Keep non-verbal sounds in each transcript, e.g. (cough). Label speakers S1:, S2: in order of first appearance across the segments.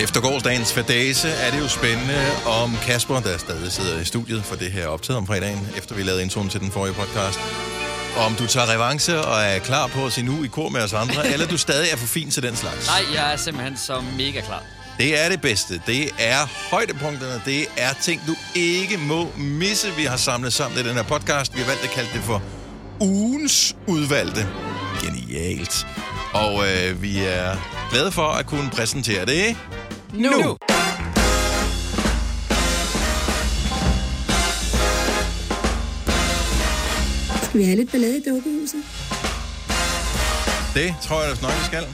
S1: Efter gårsdagens fadese er det jo spændende, om Kasper, der stadig sidder i studiet for det her optaget om fredagen, efter vi lavede introen til den forrige podcast, om du tager revanche og er klar på at sige nu i kor med os andre, eller du stadig er for fin til den slags.
S2: Nej, jeg er simpelthen så mega klar.
S1: Det er det bedste. Det er højdepunkterne. Det er ting, du ikke må misse. Vi har samlet sammen i den her podcast. Vi har valgt at kalde det for ugens udvalgte. Genialt. Og øh, vi er glade for at kunne præsentere det nu. nu.
S3: Skal vi have lidt ballade i dukkehuset?
S1: Det tror jeg da nok, vi skal.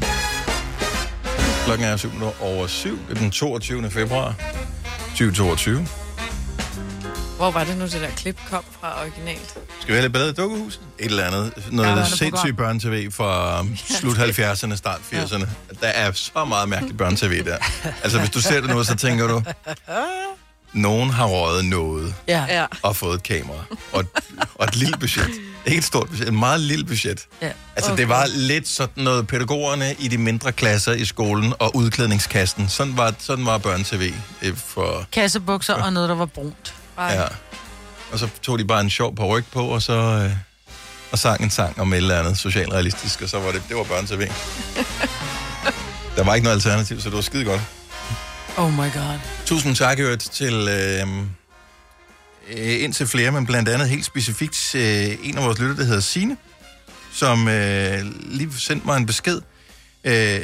S1: Klokken er 7 over 7 den 22. februar 2022.
S4: Hvor var det nu, det der klip kom fra originalt?
S1: Skal vi have lidt ballade i dukkehuset? Et eller andet. Noget ja,
S4: noget
S1: sindssygt børne-tv fra um, (laughs) slut 70'erne, start 80'erne. Der er så meget mærkeligt børne-tv der. Altså, hvis du ser det nu, så tænker du, nogen har røget noget
S4: Ja. ja.
S1: og fået et kamera. Og, et- og et lille budget. Ikke et stort budget, et meget lille budget.
S4: Ja.
S1: Altså, det var lidt sådan noget pædagogerne i de mindre klasser i skolen og udklædningskasten. Sådan var, sådan var børne-tv øh, for...
S5: Kassebukser og noget, der var brunt.
S4: Ej.
S1: Ja. Og så tog de bare en sjov par ryg på, og så øh, og sang en sang om et eller andet socialrealistisk, og så var det, det var børn-tv. Der var ikke noget alternativ, så det var skide godt.
S5: Oh my god.
S1: Tusind tak i øvrigt til øh, øh, indtil flere, men blandt andet helt specifikt øh, en af vores lytter, der hedder Sine, som øh, lige sendte mig en besked, øh,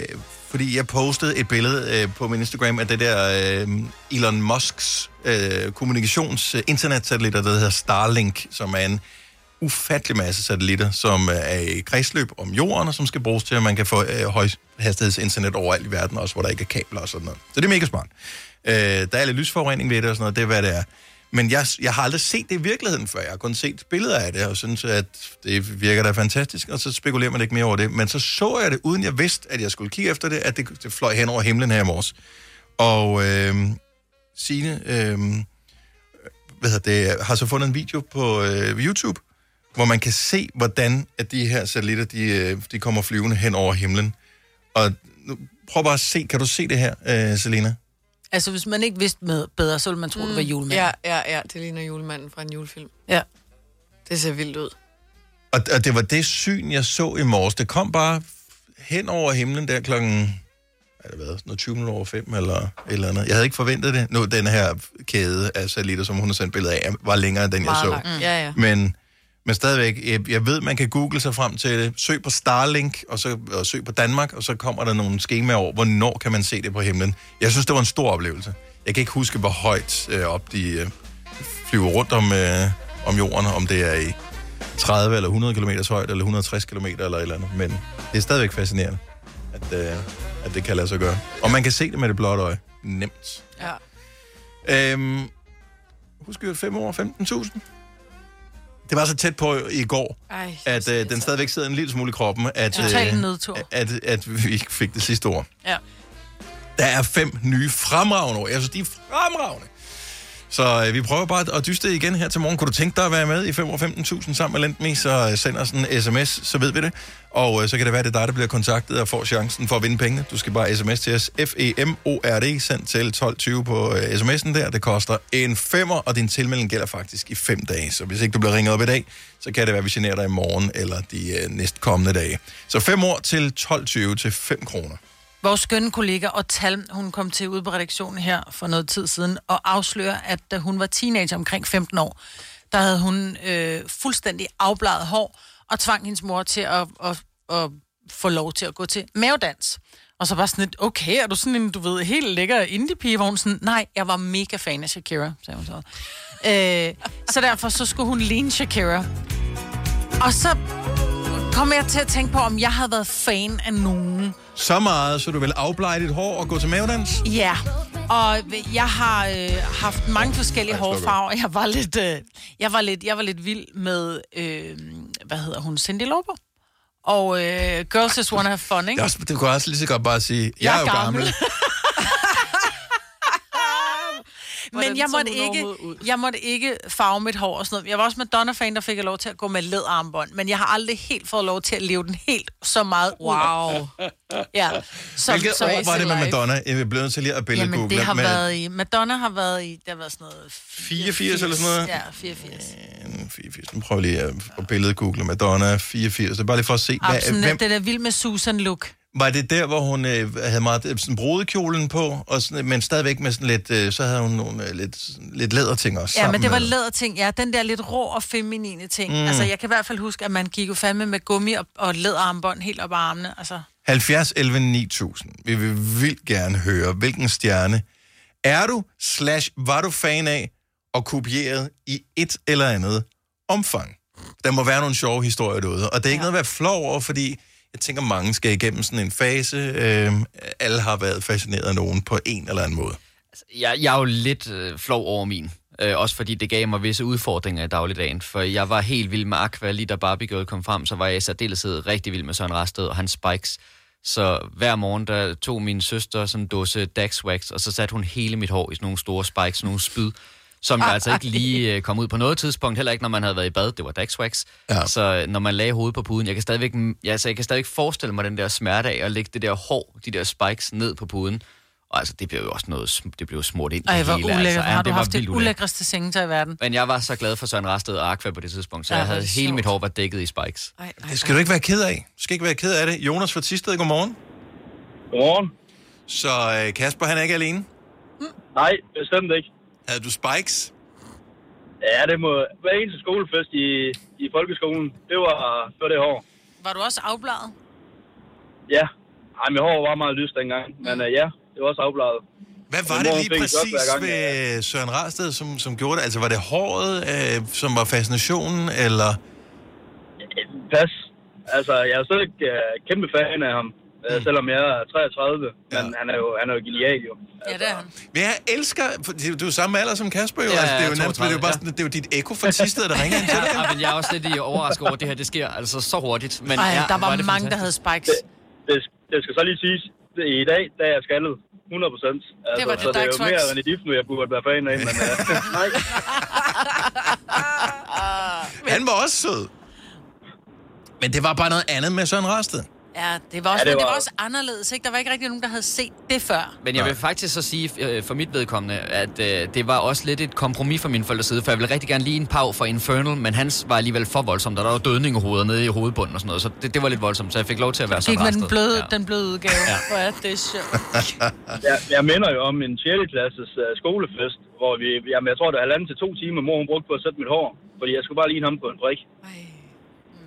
S1: fordi jeg postede et billede øh, på min Instagram af det der øh, Elon Musks øh, kommunikations øh, internetsatellitter, der hedder Starlink, som er en ufattelig masse satellitter, som øh, er i kredsløb om jorden, og som skal bruges til, at man kan få øh, højhastighedsinternet overalt i verden, også hvor der ikke er kabler og sådan noget. Så det er mega smart. Øh, der er lidt lysforurening ved det og sådan noget, det er hvad det er. Men jeg, jeg har aldrig set det i virkeligheden før. Jeg har kun set billeder af det, og synes, at det virker da fantastisk, og så spekulerer man ikke mere over det. Men så så jeg det, uden jeg vidste, at jeg skulle kigge efter det, at det, det fløj hen over himlen her i morges. Og øh, Signe, øh, hvad hedder det, har så fundet en video på øh, YouTube, hvor man kan se, hvordan at de her satellitter, de, øh, de kommer flyvende hen over himlen. Og nu, prøv bare at se, kan du se det her, øh, Selena?
S5: Altså, hvis man ikke vidste med bedre, så ville man tro, mm. det var julemanden.
S4: Ja, ja, ja. Det ligner julemanden fra en julefilm.
S5: ja.
S4: Det ser vildt ud.
S1: Og, og det var det syn, jeg så i morges. Det kom bare hen over himlen der klokken... Er det været sådan noget 20 minutter over 5 eller et eller andet? Jeg havde ikke forventet det. Nu, den her kæde af satellitter, som hun har sendt billeder af, var længere end den, jeg så.
S4: Meget langt. Ja, ja.
S1: Men, men stadigvæk, jeg, jeg ved, man kan google sig frem til det. Søg på Starlink, og, så, og søg på Danmark, og så kommer der nogle skemaer over, hvornår kan man se det på himlen. Jeg synes, det var en stor oplevelse. Jeg kan ikke huske, hvor højt øh, op de øh, flyver rundt om, øh, om jorden, om det er i 30 eller 100 km højt, eller 160 km eller et eller andet. Men det er stadigvæk fascinerende, at, øh, at det kan lade sig gøre. Og man kan se det med det blotte øje. Nemt.
S4: Ja.
S1: Øhm, husk jo 5 år 15.000. Det var så tæt på i går,
S4: Ej,
S1: at øh, den stadigvæk sidder en lille smule i kroppen, at, øh,
S5: Total nedtur.
S1: at, at vi ikke fik det sidste ord.
S5: Ja.
S1: Der er fem nye fremragende ord. Jeg synes, de er fremragende. Så øh, vi prøver bare at dyste igen her til morgen. Kunne du tænke dig at være med i 5 år 15.000 sammen med Lendme, så øh, send os en sms, så ved vi det. Og øh, så kan det være, at det er dig, der bliver kontaktet og får chancen for at vinde pengene. Du skal bare sms til os. E F-E-M-O-R-D, sendt til 12.20 på øh, sms'en der. Det koster en femmer, og din tilmelding gælder faktisk i fem dage. Så hvis ikke du bliver ringet op i dag, så kan det være, at vi generer dig i morgen eller de øh, næstkommende dage. Så fem år til 12.20 til 5 kroner.
S5: Vores skønne kollega og Tal, hun kom til ude på redaktionen her for noget tid siden, og afslører, at da hun var teenager omkring 15 år, der havde hun øh, fuldstændig afbladet hår, og tvang hendes mor til at, at, at få lov til at gå til mavedans. Og så var sådan lidt, okay, er du sådan en, du ved, helt lækker indie-pige? Hvor hun sådan, nej, jeg var mega fan af Shakira, sagde hun så. Øh, så derfor så skulle hun ligne Shakira. Og så kom jeg til at tænke på, om jeg havde været fan af nogen.
S1: Så meget, så du vil afblege dit hår og gå til mavedans?
S5: Ja, og jeg har øh, haft mange forskellige
S1: Ej, sluk op.
S5: hårfarver. Jeg var lidt, øh, jeg var lidt, jeg var lidt vild med, øh, hvad hedder hun, Cindy Lauper. Og øh, Girls Just Wanna Have Fun,
S1: Det,
S5: ikke?
S1: er også, det kunne også lige så godt bare sige, jeg,
S5: Jeg
S1: jeg
S5: er
S1: er jo gammel.
S5: gammel.
S4: Hvordan
S5: men jeg måtte, ikke, jeg måtte ikke farve mit hår og sådan noget. Jeg var også Madonna-fan, der fik jeg lov til at gå med læderarmbånd, men jeg har aldrig helt fået lov til at leve den helt så meget ud.
S4: Wow.
S5: Ja. Som,
S1: Hvilket
S5: som-
S1: år var det med
S4: Life.
S1: Madonna? Jeg bliver nødt til lige at billede
S5: Jamen, det har
S1: med
S5: været i... Madonna har været i... Det har været sådan noget...
S1: 84 eller sådan noget?
S5: Ja, 84.
S1: 84. Nu prøver jeg lige at, at billedgoogle Madonna 84. Det er bare lige for at se,
S5: Absolut,
S1: hvad, hvem,
S5: den er vild med Susan look.
S1: var det der, hvor hun øh, havde meget øh, sådan brodekjolen på, og sådan, men stadigvæk med sådan lidt, øh, så havde hun nogle øh, lidt, sådan lidt læderting også øh,
S5: Ja,
S1: sammen
S5: men det var
S1: med.
S5: læderting. Ja, den der lidt rå og feminine ting. Mm. Altså, jeg kan i hvert fald huske, at man gik jo fandme med gummi og, og læderarmbånd helt op ad armene. Altså,
S1: 70 11 9000. Vi vil vildt gerne høre, hvilken stjerne er du, slash var du fan af, og kopieret i et eller andet omfang? Der må være nogle sjove historier derude, og det er ikke ja. noget at være flov over, fordi jeg tænker, mange skal igennem sådan en fase. Øh, alle har været fascineret af nogen på en eller anden måde.
S2: Jeg, jeg er jo lidt øh, flov over min. Øh, også fordi det gav mig visse udfordringer i dagligdagen. For jeg var helt vild med Aqua, lige da Barbie Girl kom frem, så var jeg i særdeleshed rigtig vild med Søren Rasted og hans spikes. Så hver morgen, der tog min søster sådan en dåse Daxwax, og så satte hun hele mit hår i sådan nogle store spikes, nogle spyd, som jeg altså ikke lige øh, kom ud på noget tidspunkt, heller ikke når man havde været i bad, det var Daxwax. Ja. Så øh, når man lagde hovedet på puden, jeg kan, stadigvæk, ja, altså, jeg kan stadigvæk forestille mig den der smerte af at lægge det der hår, de der spikes ned på puden. Og altså, det blev jo også noget, sm- det blev smurt ind i
S5: ej,
S2: det
S5: hvor
S2: hele,
S5: ulækkert.
S2: altså.
S5: Altså,
S2: Ja,
S5: har du
S2: det var
S5: haft det
S2: vildt ulækkert.
S5: ulækreste sengetøj i verden?
S2: Men jeg var så glad for Søren Rasted og Aqua på det tidspunkt, så
S5: Ja,
S2: jeg
S5: hvor er
S2: havde
S5: det
S2: hele mit
S5: sjovt.
S2: hår var dækket i spikes.
S4: Ej, ej,
S1: Det skal du ikke være ked af. Du skal ikke være ked af det. Jonas fra Tisted, godmorgen.
S6: Godmorgen.
S1: Så øh, Kasper, han er ikke alene.
S6: Nej, bestemt ikke.
S1: Havde du spikes?
S6: Ja, det må hver eneste skolefest i, i folkeskolen. Det var før det hår.
S5: Var du også afbladet?
S6: Ja. Ej, mit hår var meget lyst dengang. Men uh, ja, det var også afbladet.
S1: Hvad var
S6: Min
S1: det
S6: mor
S1: lige
S6: fik et job
S1: præcis
S6: hver gang,
S1: ved øh, Søren Rasted, som, som gjorde det? Altså, var det håret, øh, som var fascinationen, eller...
S6: Øh, Pas. Altså, jeg er stadig uh, kæmpe fan af ham. Uh, selvom jeg er 33. Men
S1: Mm. Ja.
S6: han er jo, han er jo genial, jo.
S5: Ja, det er han.
S1: Men jeg elsker... for Du du er jo samme alder som Kasper, jo.
S2: Ja,
S1: altså, det er jo
S2: jeg er
S1: nærmest, det er
S2: 32,
S1: jo bare
S2: ja.
S1: sådan, det er jo dit ekko fra Tisted, der ringer ind til
S2: (laughs)
S1: dig.
S2: Ja, men jeg er også lidt i overrasket over, at det her det sker altså så hurtigt. Men
S5: Ej,
S2: ja,
S5: der
S2: hvor
S5: var
S2: er det
S5: mange, der havde
S2: fantastisk.
S5: spikes.
S6: Det, det skal så lige siges. Det, I dag, der er jeg skaldet. 100 procent. Altså,
S5: var det,
S6: så det er jo
S5: Dax-Wax.
S6: mere end et nu, jeg burde være fan af. Men, uh,
S1: (laughs)
S6: nej.
S1: Han var også sød. Men det var bare noget andet med Søren Rasted.
S5: Ja, det var også,
S6: Ja,
S5: ja,
S6: det
S5: det var... Men det
S6: var-
S5: var også anderledes, ikke? Der var ikke rigtig nogen, der havde set det før.
S2: Men jeg
S1: Nej.
S2: vil faktisk så sige øh, for mit vedkommende, at øh, det var også lidt et kompromis fra min forældres side, for jeg ville rigtig gerne lige en pav for Infernal, men hans var alligevel for voldsom, der der var dødning i hovedet nede i hovedbunden og sådan noget, så det, det var lidt voldsomt, så jeg fik lov til at være så
S5: Gik med den
S2: rastet.
S5: bløde,
S2: Ja.
S5: ja. den bløde udgave. Ja. Hvor er det sjovt.
S6: Jeg, jeg minder jo om en 6. klasses uh, skolefest, hvor vi, jamen, jeg tror, det er halvanden til to timer, mor hun brugte på at sætte mit hår. Fordi jeg skulle bare ligne ham på en brik.
S4: ej.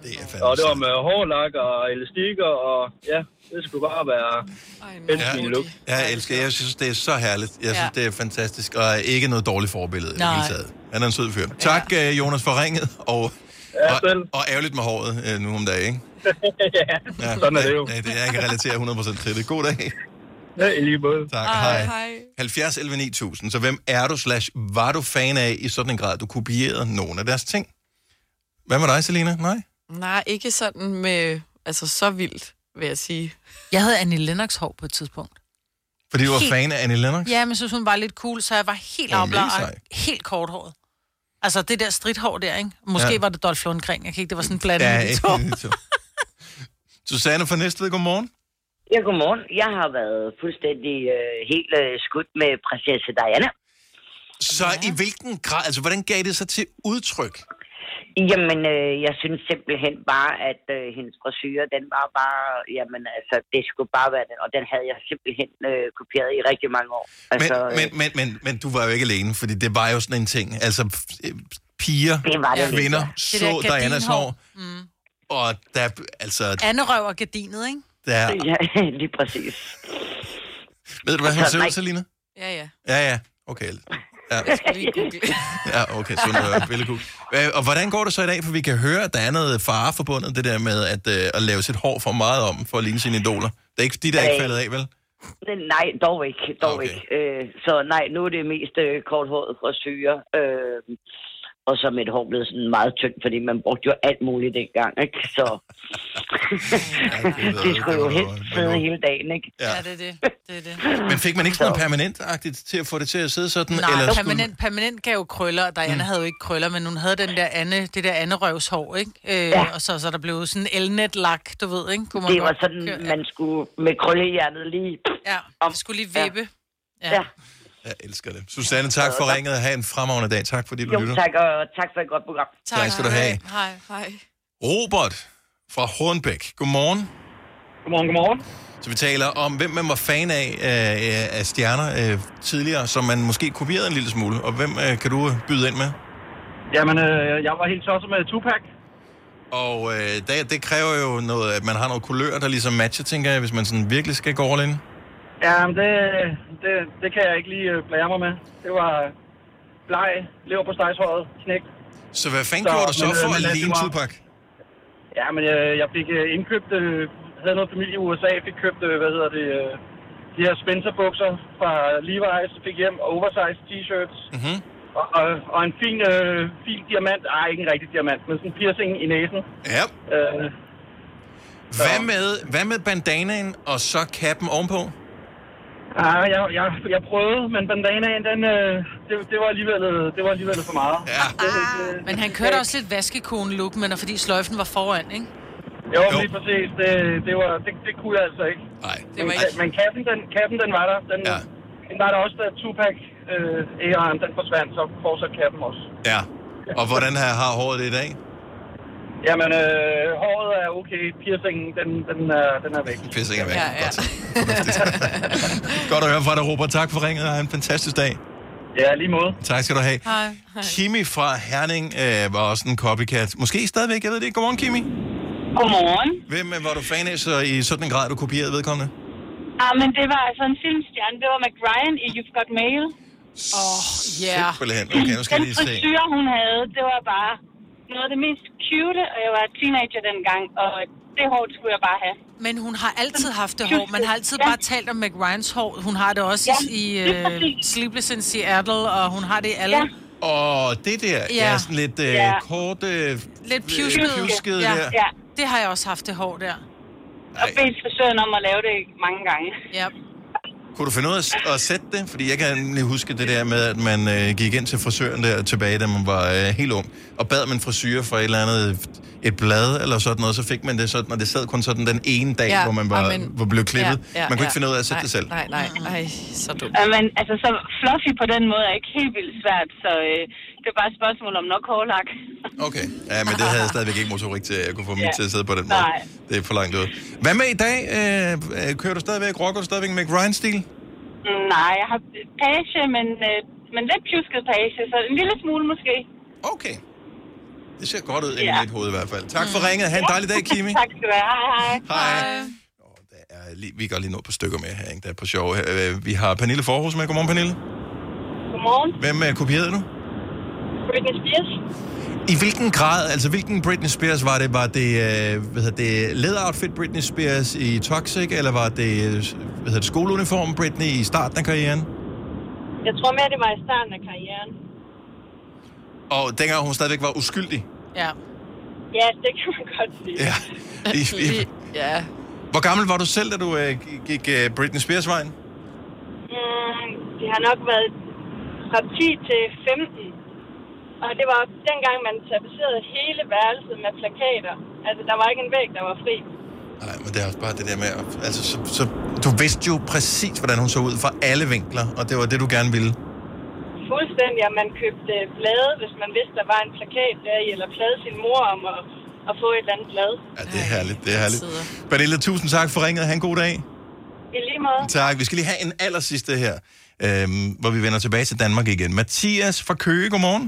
S1: Det er
S6: Og det var
S1: fandme
S6: med hårlak og elastikker, og ja, det skulle bare være...
S4: Ej,
S6: Den
S4: hvor
S6: fine
S4: er
S1: (laughs)
S6: look.
S4: de-
S1: Ja, jeg elsker. Jeg synes, det er så herligt. Jeg synes, ja.
S5: Ja.
S1: det er fantastisk. Og ikke noget dårligt forbillede Nej. i
S5: Nej.
S1: det hele taget. Han er en sød fyr. Tak, øh, Jonas, for ringet. Og,
S6: Ja,
S1: og,
S6: selv.
S1: og ærgerligt med håret øh, nu om dagen, ikke?
S6: ja,
S1: Ja,
S6: sådan er det jo.
S1: Ja, det, jeg kan relatere 100% til det. God dag.
S6: Ja, i lige måde.
S1: Tak,
S4: Ej,
S1: hej. hej.
S4: hej.
S1: 70 11 9000. Så hvem er du, slash var du fan af i sådan en grad, du kopierede nogle af deres ting? Hvad med dig, Selina? Nej?
S4: Nej, ikke sådan med... Altså, så vildt, vil jeg sige.
S5: Jeg havde Annie Lennox hår på et tidspunkt.
S1: Fordi du var
S5: Helt.
S1: fan af Annie Lennox?
S5: Ja, men jeg synes, hun var lidt cool, så jeg var helt
S1: Hun er
S5: afbladet,
S1: mega
S5: og
S1: sej.
S5: helt korthåret. Altså det der stridthår der, ikke? Måske
S1: Ja.
S5: ja. var det Dolph Lundgren, jeg kan ikke, det var sådan blandet ja, de to.
S1: to. Susanne fra Næstved, godmorgen.
S7: Ja, godmorgen. Jeg har været fuldstændig øh, helt øh, skudt med prinsesse Diana.
S1: Så ja. i hvilken grad, altså hvordan gav det sig til udtryk?
S7: Jamen, øh, jeg synes simpelthen bare, at øh, hendes frisyr, den var bare, jamen altså, det skulle bare være den, og den havde jeg simpelthen øh, kopieret i rigtig mange år.
S1: Men,
S7: Altså, øh,
S1: men, men, men, men du var jo ikke alene, fordi det var jo sådan en ting. Altså f- øh, piger,
S7: det var det. lidt.
S1: kvinder, så
S5: gardinhår.
S1: Dianas hår, og der, altså,
S5: Anderøv og gardinet, ikke?
S1: der,
S7: Ja, (laughs) lige præcis.
S1: ved du, hvad hun
S7: Altså,
S1: ser ud,
S7: nej.
S1: Selina?
S4: Ja, ja.
S1: Ja, ja. Okay. Ja,
S7: (laughs)
S4: Jeg vil lige google.
S1: ja okay. Sådan noget billedkug. Øh, Og hvordan går det så i dag? For vi kan høre, at der er noget fare forbundet, det der med at, øh, at lave sit hår for meget om, for at ligne sine idoler. Det er ikke de, der er ikke
S7: Øh.
S1: faldet af, vel?
S7: Nej, dog ikke, dog
S1: Okay.
S7: okay. ikke. Øh, så nej, nu er det mest øh, korthåret frisyr. Øh, Og så er mit hår blevet sådan meget tyndt, fordi man brugte jo alt muligt dengang, ikke? Så
S1: ved jeg
S7: (laughs) det
S1: ikke,
S7: skulle jo
S1: hvornår-
S7: helst sidde
S1: hvornår.
S7: hele dagen, ikke?
S1: Ja.
S5: Ja, det er det. det, er det.
S1: Men fik man ikke sådan noget permanent-agtigt til at få det til at sidde sådan?
S5: Nej, Eller
S1: skulle-
S5: permanent, permanent gav jo krøller, og Diana mm. havde jo ikke krøller, men hun havde den der Anne, det der Anne-røvshår, ikke? Øh, ja. Og så, så der blev sådan elnetlak, du ved, ikke? Kunne man
S7: Det var
S5: godt
S7: sådan,
S5: køre-
S7: man skulle med krøllehjernet lige...
S5: Ja,
S7: om-
S5: det skulle lige vippe. Ja.
S7: Ja.
S5: ja.
S1: Jeg elsker det. Susanne, tak for ringet. Ha' en fremragende dag. Tak fordi du
S7: Jo,
S1: lytter.
S7: tak, og tak for et godt program.
S1: Tak skal du have.
S4: Hej, hej.
S1: Robert fra Hornbæk. Godmorgen.
S6: Godmorgen, godmorgen.
S1: Så vi taler om, hvem man var fan af, øh, af stjerner øh, tidligere, som man måske kopierede en lille smule. Og hvem øh, kan du øh, byde ind med?
S6: Jamen, øh, jeg var helt tosset med Tupac.
S1: Og øh, det, det kræver jo noget, at man har noget kulør, der ligesom matcher, tænker jeg, hvis man sådan virkelig skal gå all in.
S6: Jamen, det, det, det kan jeg ikke lige øh, blære mig med. Det var øh, bleg, lever på stegshøjet, knægt.
S1: Så hvad fanden
S6: Så,
S1: gjorde du så
S6: men, øh,
S1: for
S6: men
S1: at
S6: lad det
S1: ligne
S6: være.
S1: Tupac?
S6: Ja, men jeg, jeg fik øh, indkøbt, øh, havde noget familie i USA, fik købt, øh, hvad hedder det, øh, de her Spencer-bukser fra Levi's, fik hjem, og oversized t-shirts,
S1: Mm-hmm.
S6: og, og, og en fin, øh, fin diamant, ej, ikke en rigtig diamant, men sådan en piercing i næsen.
S1: Ja.
S6: Øh,
S1: Hvad med, hvad med bandanaen og så kappen ovenpå?
S6: ah, jeg, jeg, jeg prøvede, men bandanaen, den, øh, det, det, var alligevel, øh, det var alligevel for meget. Ah,
S1: Ja.
S4: Ah,
S5: Men han kørte også lidt vaskekone-look, men fordi sløjfen var foran, ikke?
S6: Jo,
S1: Jo.
S6: jo. lige præcis. Det, det, var, det, det kunne jeg altså ikke.
S1: Nej.
S4: Det var
S6: Men,
S4: ikke...
S6: men kappen, den, kappen, den var der. Den,
S1: Ja.
S6: ja. den var der også, da Tupac øh, æraen, den forsvandt, så fortsatte kappen også.
S1: Ja. Og hvordan har har håret det i dag?
S6: Jamen, øh, håret er okay. Piercingen, den, den, er, den er væk.
S1: Pisse ikke væk.
S4: Ja, ja.
S1: Godt. Fornuftigt. Godt at høre fra dig, Robert. Tak for ringet, og have en fantastisk dag.
S6: Ja, lige måde.
S1: Tak skal du have.
S4: Hej.
S1: Kimi fra Herning øh, var også en copycat. Måske stadigvæk, jeg ved det ikke. Godmorgen, Kimi.
S8: Godmorgen.
S1: Hvem øh, var du fan af, så i sådan en grad, du kopierede vedkommende?
S8: Ah, men det var altså en filmstjerne. Det var McBrien i You've Got Mail.
S1: Åh,
S5: ja.
S8: Ah.
S1: Simpelthen. Okay, nu skal
S8: Den
S1: jeg lige se.
S8: frisyr, hun havde, det var bare noget af det mest cute, og jeg var teenager dengang, og det hår skulle jeg bare have.
S5: Men hun har altid haft det hår. Man har altid bare talt om McRyans hår. Hun har det også
S8: Ja,
S5: i
S8: lige
S5: øh,
S8: præcis.
S5: Sleepless in Seattle, og hun har det i alle.
S8: Ja.
S1: Åh, det der. Ja.
S5: Ja.
S1: Er sådan lidt øh,
S8: Ja.
S1: kort... Øh,
S5: Lidt pjusket.
S1: pjusket
S5: Ja.
S1: der.
S8: Ja,
S5: Det har jeg også haft det hår der.
S8: og
S1: Ej.
S8: bedte frisøren om at lave det mange gange.
S5: Ja.
S1: Kunne du finde ud af at- at sætte det? Fordi jeg kan nemlig huske det der med, at man øh, gik ind til frisøren der tilbage, da man var øh, helt ung, og bad man frisyrer for et eller andet et blad eller sådan noget, så fik man det sådan, og det sad kun sådan den ene dag, ja, hvor man var,
S4: amen.
S1: var blevet klippet. Ja, ja, man kunne ikke finde ud af at sætte
S4: nej,
S1: det selv.
S4: Nej, nej, nej. Så dumt.
S8: Øh, Men altså, så fluffy på den måde er ikke helt vildt svært, så øh, det er bare et spørgsmål om nok hårlak.
S1: Okay. Ja, men det havde jeg stadigvæk ikke motorik til, at jeg kunne få mit
S8: Ja.
S1: til at sidde på den måde.
S8: Nej.
S1: Det er for langt ud. Hvad med i dag? Øh, øh, kører du stadigvæk, rocker du stadigvæk med Grind-stil?
S8: Mm, Nej, jeg har page, men, øh, men lidt pjusket page, så en lille smule måske.
S1: Okay. Det ser godt ud inde i
S8: Ja.
S1: mit hoved i hvert fald. Tak
S9: Mm.
S1: for ringet. Ha' en dejlig dag, Kimi.
S8: Tak skal du have. Hej, hej.
S1: Hej. Nå, der er lige, vi går lige noget på stykker mere her, ikke? Der er på sjov. Øh, Vi har Pernille Forhus med. Godmorgen, Pernille.
S8: Godmorgen.
S1: Hvem øh, kopierede du?
S8: Britney Spears.
S1: I hvilken grad, altså hvilken Britney Spears var det? Var det, øh, hvad hedder det lederoutfit Britney Spears i Toxic, eller var det, øh, hvad hedder det skoleuniform Britney i starten af karrieren?
S8: Jeg tror mere, det var i starten af karrieren.
S1: Og dengang hun stadigvæk var uskyldig.
S5: Ja.
S8: Ja, det kan man godt sige.
S1: Ja. (laughs) I, i,
S4: Ja.
S1: hvor gammel var du selv, da du øh, gik øh, Britney Spears-vejen?
S8: Mm, det har nok været fra 10 til 15. Og det var dengang, man tapiserede hele værelset med plakater. Altså, der var ikke en væg, der var fri.
S1: Nej, men det er også bare det der med, at- altså, så, så, du vidste jo præcis, hvordan hun så ud fra alle vinkler, og det var det, du gerne ville.
S8: Fuldstændig, at man købte øh, blade, hvis man vidste, der var en plakat der i, eller plade sin mor om at, at få et eller andet blad.
S1: Ja, det er herligt, det er herligt.
S4: sidder.
S1: Pernille, tusind tak for ringet. Ha' en god dag.
S8: I lige
S1: (laughs)
S8: måde.
S1: Tak. Vi skal lige have en allersidste her, øhm, hvor vi vender tilbage til Danmark igen. Mathias fra Køge, godmorgen.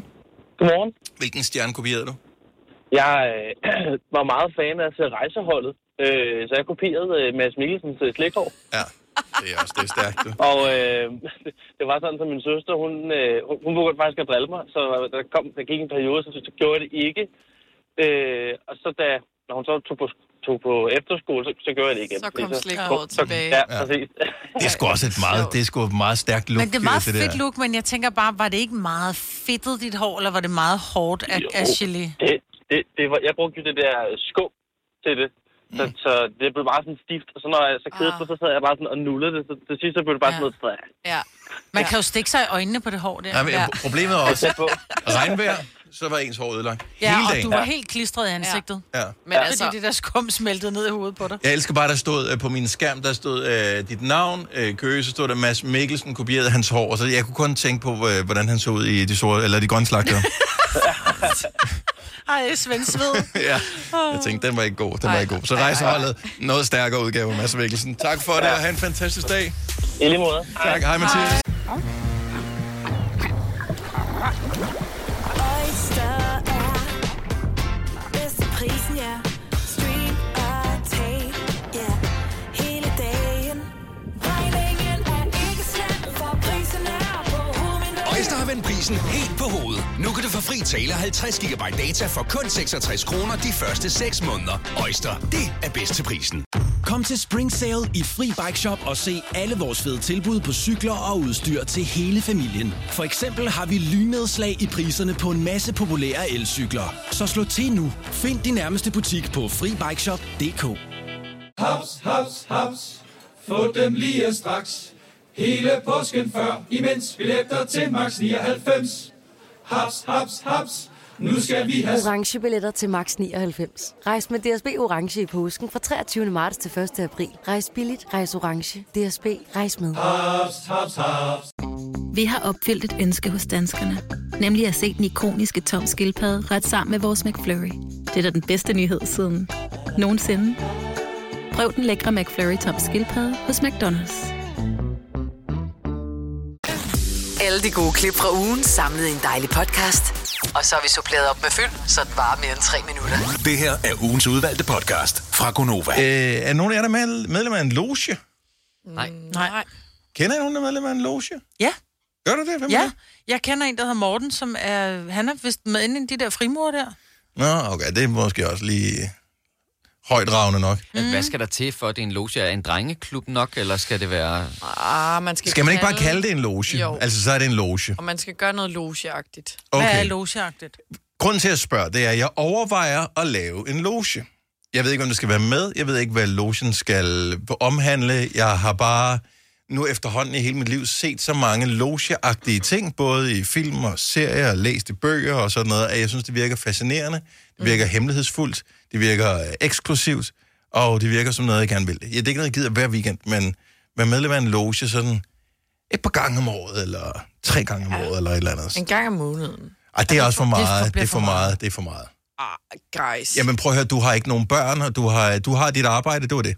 S9: Godmorgen.
S1: Hvilken stjerne kopierede du?
S9: Jeg øh, (clears throat) var meget fan af altså, rejseholdet, øh, så jeg kopierede øh, Mads Mikkelsens øh, slikhår.
S1: Ja, det er også det er stærkt. du.
S9: Og øh, (laughs) det var sådan, at min søster, hun, øh, hun, hun kunne godt faktisk at drille mig, så der, kom, der gik en periode, så, så gjorde jeg det ikke. Øh, og så da, nå, da hun så tog på, tog på efterskole, så, så gjorde jeg det igen.
S4: Så kom
S9: Fordi
S4: slikåret
S9: så-
S4: tilbage.
S9: Ja, præcis.
S1: Det er sgu også et meget, det er sgu et meget stærkt look.
S5: Men det er meget
S1: der.
S5: fedt look, men jeg tænker bare, var det ikke meget fedtet dit hår, eller var det meget hårdt af,
S9: Jo.
S5: af gelé?
S9: Det, det, det var, jeg brugte jo det der skum til det. Så,
S1: Mm.
S9: så det blev bare sådan stift, og så når jeg så kedede det, så sad jeg bare sådan og nullede det. Så til sidst så blev det bare sådan
S5: Ja.
S9: noget træ.
S4: Ja.
S5: Man kan jo stikke sig i øjnene på det hår der.
S1: Nej, men
S4: Ja.
S1: problemet er også,
S9: Tæt på.
S1: regnvejr, så var ens hår ødelagt.
S5: Ja,
S1: Hele
S5: og
S1: dagen.
S5: du var helt klistret i ansigtet.
S1: Ja.
S4: Men
S5: Ja.
S4: altså,
S5: Fordi det der skum smeltede ned i hovedet
S4: (laughs)
S5: på dig.
S1: Jeg elsker bare, der stod øh, på min skærm, der stod øh, dit navn, øh, Køge, så stod der Mads Mikkelsen, kopierede hans hår, og så jeg kunne kun tænke på, øh, hvordan han så ud i de sorte, eller de grønne slagter.
S5: (laughs) Ej, Svend Sved.
S1: ja, jeg tænkte, den var ikke god, den var ikke god. Så rejseholdet, noget stærkere udgave af Mads Mikkelsen. Tak for det, og have en fantastisk dag.
S9: I lige måde.
S1: Tak, hej Mathias.
S10: Oyster er bedst til prisen, ja. Stream og tag, ja. Hele dagen. Regningen er ikke slem, for prisen er på
S11: Øjster har vendt prisen helt på hovedet. Nu kan du få fri tale 50 GB data for kun 66 kroner de første 6 måneder. Øjster, det er bedst til prisen.
S12: Kom til Spring Sale i Fri Bike Shop og se alle vores fede tilbud på cykler og udstyr til hele familien. For eksempel har vi lynedslag i priserne på en masse populære elcykler. Så slå til nu. Find din nærmeste butik på FriBikeShop.dk
S13: Haps, haps, haps. Få dem lige straks. Hele påsken før, imens billetter til max 99. Haps, haps, haps. Nu skal vi have...
S14: orange billetter til max 99. Rejs med DSB orange i påsken fra 23. marts til 1. april. Rejs billigt, rejs orange. DSB rejs med.
S13: Haps, haps, haps.
S15: Vi har opfyldt et ønske hos danskerne. Nemlig at se den ikoniske tom skildpadde ret sammen med vores McFlurry. Det er da den bedste nyhed siden nogensinde. Prøv den lækre McFlurry tom skildpadde hos McDonald's.
S16: Alle de gode klip fra ugen samlet i en dejlig podcast. Og så har vi suppleret op med fyld, så det varer mere end tre minutter.
S11: Det her er ugens udvalgte podcast fra Gonova.
S1: Øh, er nogen af jer, der er med- medlem af en loge?
S2: Nej.
S5: Nej.
S1: Kender I nogen, der er medlem af en loge?
S5: Ja.
S1: Gør du det? Hvem er
S5: Ja,
S1: det?
S5: jeg kender en, der hedder Morten, som er... Han er vist med inde i de der frimurer der.
S1: Nå, okay, det er måske også lige højdragende nok.
S2: Men hvad skal der til for, at det er en loge? Er en drengeklub nok, eller skal det være...
S4: ah, man skal,
S1: Skal man ikke bare kalde det en loge?
S4: Jo.
S1: Altså, så er det en loge.
S4: Og man skal gøre noget logeagtigt.
S1: Okay. Hvad er
S5: logeagtigt?
S1: Grunden til at spørge, det er, at jeg overvejer at lave en loge. Jeg ved ikke, om det skal være med. Jeg ved ikke, hvad logen skal omhandle. Jeg har bare nu efterhånden i hele mit liv set så mange logeagtige ting, både i film og serier og læst i bøger og sådan noget, at jeg synes, det virker fascinerende, det virker hemmelighedsfuldt, det virker øh, eksklusivt, og det virker som noget, jeg gerne vil. Ja, det er ikke noget, jeg gider hver weekend, men være medlem af en loge sådan et par gange om året, eller tre gange om året, eller et eller andet.
S4: En gang om måneden.
S1: Ej,
S5: Altså,
S1: det er også for
S4: for- det
S1: meget.
S4: bliver
S1: Det er for
S4: for meget.
S1: meget. Det er for meget.
S4: Ah, guys.
S1: Jamen prøv at høre, du har ikke nogen børn, og du har, du har dit arbejde, det var det.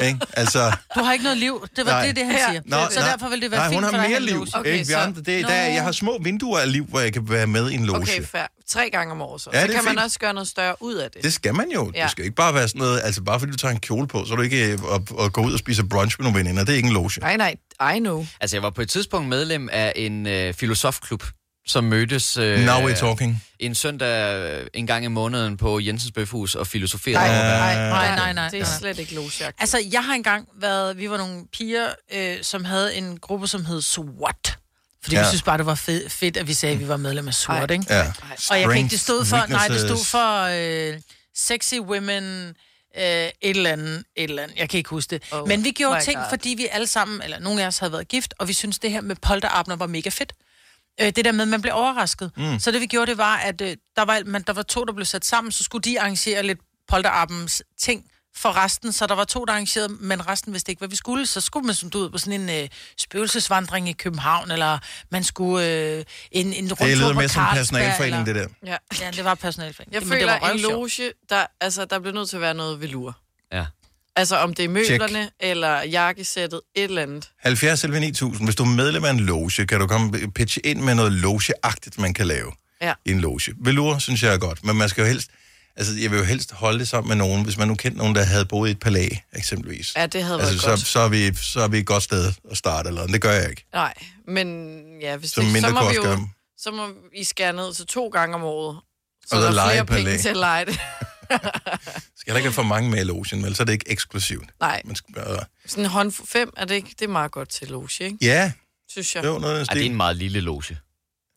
S1: Ikke? Altså,
S5: Du har ikke noget liv. (laughs) Det var
S1: Nej.
S5: det, det han siger. så derfor vil det være
S1: nej,
S5: fint
S1: hun
S5: for
S1: har
S5: dig at have
S1: mere
S5: en
S1: liv.
S5: loge.
S1: Okay, ikke? Vi
S5: så-
S1: andre, det er, der, er-
S5: Nå.
S1: jeg har små vinduer af liv, hvor jeg kan være med i en loge.
S4: Okay, fair. Tre gange om året så.
S1: Ja,
S4: Ja, så
S1: det er
S4: kan man
S1: fint.
S4: også gøre noget større ud af det.
S1: Det skal man jo. Ja.
S4: Ja.
S1: Det skal ikke bare være sådan noget, altså bare fordi du tager en kjole på, så er du ikke øh, at, at gå ud og spise brunch med nogle veninder. Det er ikke en loge.
S4: Nej, nej, I know.
S2: Altså, jeg var på et tidspunkt medlem af en øh, filosofklub, som mødtes... Øh,
S1: Now we're talking.
S2: En søndag øh, en gang i måneden på Jensens Bøfhus og filosoferede.
S1: Nej,
S2: over, hvad-
S1: nej,
S5: Nej, nej, nej.
S4: Det er slet ikke logeagtigt.
S5: Altså, jeg har engang været... Vi var nogle piger, øh, som havde en gruppe, som hed SWAT. Fordi ja. vi
S1: Ja.
S5: synes bare, det var fed, fedt, at vi sagde, at vi var medlem af SWAT, ikke? Og
S1: Ja.
S5: jeg kan ikke,
S1: Strengths,
S5: det stod for... Nej, det stod
S1: weaknesses.
S5: for øh, sexy women... Øh, et eller andet, et eller andet. Jeg kan ikke huske det. Oh, Men vi gjorde
S4: my
S5: ting,
S4: God.
S5: fordi vi alle sammen, eller nogle af os havde været gift, og vi syntes, det her med polterabner var mega fedt. Øh, det der med, at man blev overrasket.
S4: Mm.
S5: Mm. Så det vi gjorde, det var, at øh, der, var, man, der var to, der blev sat sammen, så skulle de arrangere lidt polterappens ting for resten, så der var to, der arrangerede, men resten vidste ikke, hvad vi skulle. Så skulle man sådan ud på sådan en øh, spøgelsesvandring i København, eller man skulle øh, en, en rundtur
S1: lyder
S5: på
S1: mere som
S5: Carlsberg,
S1: personaleforening,
S5: eller...
S1: det
S4: Ja.
S5: Ja, det var personalforening.
S4: Jeg
S5: Men det
S4: føler,
S5: var
S4: en
S5: røvsjovt.
S4: loge, der, altså, der bliver nødt til at være noget velur.
S2: Ja.
S4: Altså, om det er møblerne, Check. eller jakkesættet, et eller andet.
S1: 70 11 9000. Hvis du er medlem af en loge, kan du komme øh, pitche ind med noget logeagtigt, man kan lave.
S4: Ja.
S1: i en loge. Velour synes jeg er godt, men man skal jo helst... Altså, jeg vil jo helst holde det sammen med nogen, hvis man nu kendte nogen, der havde boet i et palæ, eksempelvis.
S4: Ja, det havde
S1: altså,
S4: været
S1: så,
S4: godt.
S1: så, er vi, så er vi et godt sted at starte, eller det gør jeg ikke.
S4: Nej, men ja, hvis
S1: Så
S4: det,
S1: mindre
S4: så må
S1: kunne
S4: vi
S1: også
S4: jo,
S1: gøre.
S4: så må I skære ned til to gange om året. Så
S1: Og
S4: og
S1: så
S4: der er
S1: lege
S4: flere
S1: på
S4: penge
S1: lag. (laughs)
S4: til at lege det.
S1: Skal der ikke være for mange med i logen, vel? Så er det ikke eksklusivt.
S4: Nej.
S1: Man skal bare...
S4: Sådan en hånd fem, er det ikke? Det er meget godt til loge, ikke?
S1: Ja,
S4: Synes jeg.
S2: Ej, det er en meget lille loge.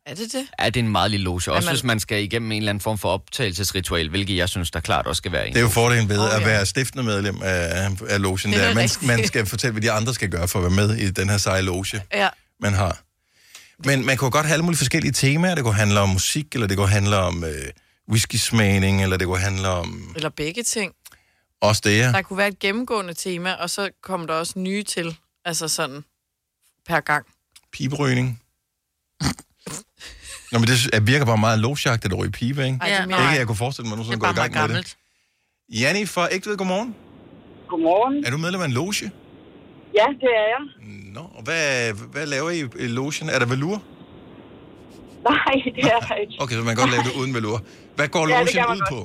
S4: Er det det?
S2: Ja, det er en meget lille loge. Også
S4: man-
S2: hvis man skal igennem en eller anden form for optagelsesritual, hvilket jeg synes, der klart også skal være en.
S1: Det er jo fordelen ved at være stiftende medlem af, af logen.
S2: Det er
S1: Der. Man,
S2: rigtigt.
S1: man skal fortælle, hvad de andre skal gøre for at være med i den her seje loge,
S4: Ja.
S1: man har. Men man kunne godt have alle mulige forskellige temaer. Det kunne handle om musik, eller det kunne handle om øh, whisky-smagning, eller det kunne handle om
S4: Eller begge ting.
S1: også det her.
S4: Der kunne være et gennemgående tema, og så kom der også nye til. Altså sådan per gang.
S1: Piberøgning. Nå, men det sy- jeg virker bare meget logeagtigt at ryge pibe, ikke?
S4: Ej, det er mere-
S1: Ikke, at jeg kunne forestille mig, at nogen sådan går i gang med det. Janni fra Ægtved, godmorgen.
S8: Godmorgen.
S1: Er du medlem af en loge?
S8: Ja, det er jeg. (laughs)
S1: Nå, og hvad, hvad laver I i logen? Er der velur?
S8: Nej, det er jeg ikke.
S1: Okay, så man kan godt lave det uden velur. Hvad går
S8: Ja,
S1: logen
S8: det kan man
S1: ud
S8: godt.
S1: på?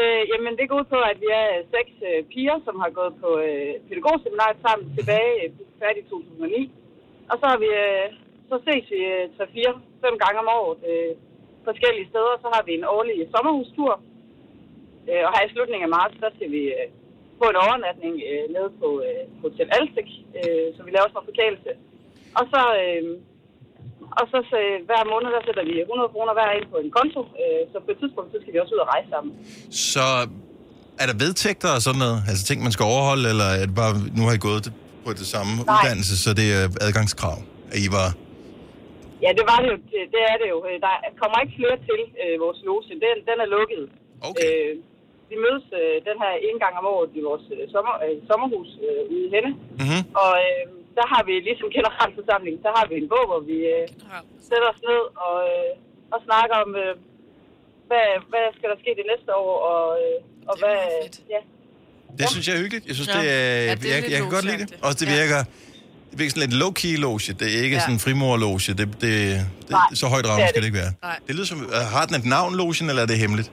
S8: Øh, jamen, det går ud på, at vi er øh, seks øh, piger, som har gået på øh, pædagogseminariet sammen tilbage øh, færdig i 2009. Og så, har vi, øh, så ses vi øh, 3-4-5 gange om året øh, forskellige steder. Så har vi en årlig sommerhustur. Øh, og her i slutningen af marts, der skal vi øh, på en overnatning øh, nede på øh, Hotel Alstik, øh, så vi laver sådan en forkælelse. Og så, øh, og så, så øh, hver måned, der sætter vi 100 kroner hver ind på en konto. Øh, så på et tidspunkt, så skal vi også ud og rejse sammen.
S1: Så er der vedtægter og sådan noget? Altså ting, man skal overholde, eller er det bare, nu har I gået på det samme Nej. uddannelse, så det er adgangskrav, at I var...
S8: Ja, det var det jo. Det, det er det jo. Øh, Der kommer ikke flere til øh, vores loge. Den, den er lukket.
S1: Okay.
S8: Øh, vi mødes øh, den her en gang om året i vores øh, sommer, øh, sommerhus øh, ude i Henne.
S1: Mm-hmm.
S8: Og øh, der har vi ligesom generalforsamling, der har vi en bog, hvor vi øh, sætter os ned og, øh, og snakker om, øh, hvad, hvad skal der ske det næste år, og, øh, og hvad... Ja.
S1: Det ja. synes jeg er hyggeligt. Jeg synes,
S8: Ja.
S1: det er...
S8: Ja, det er
S1: Ja, det er jeg,
S8: lidt
S1: jeg kan godt lide det.
S8: logeagtigt.
S1: Også det virker... Det virker sådan lidt low-key loge. Det er ikke
S8: Ja.
S1: ja. sådan en frimor-loge. Det, det, det,
S8: Nej,
S1: så højt
S8: det er
S1: ramme skal
S8: det
S1: det ikke være.
S8: Nej.
S1: Det lyder som... øh, Har den et navn, logen, eller er det hemmeligt?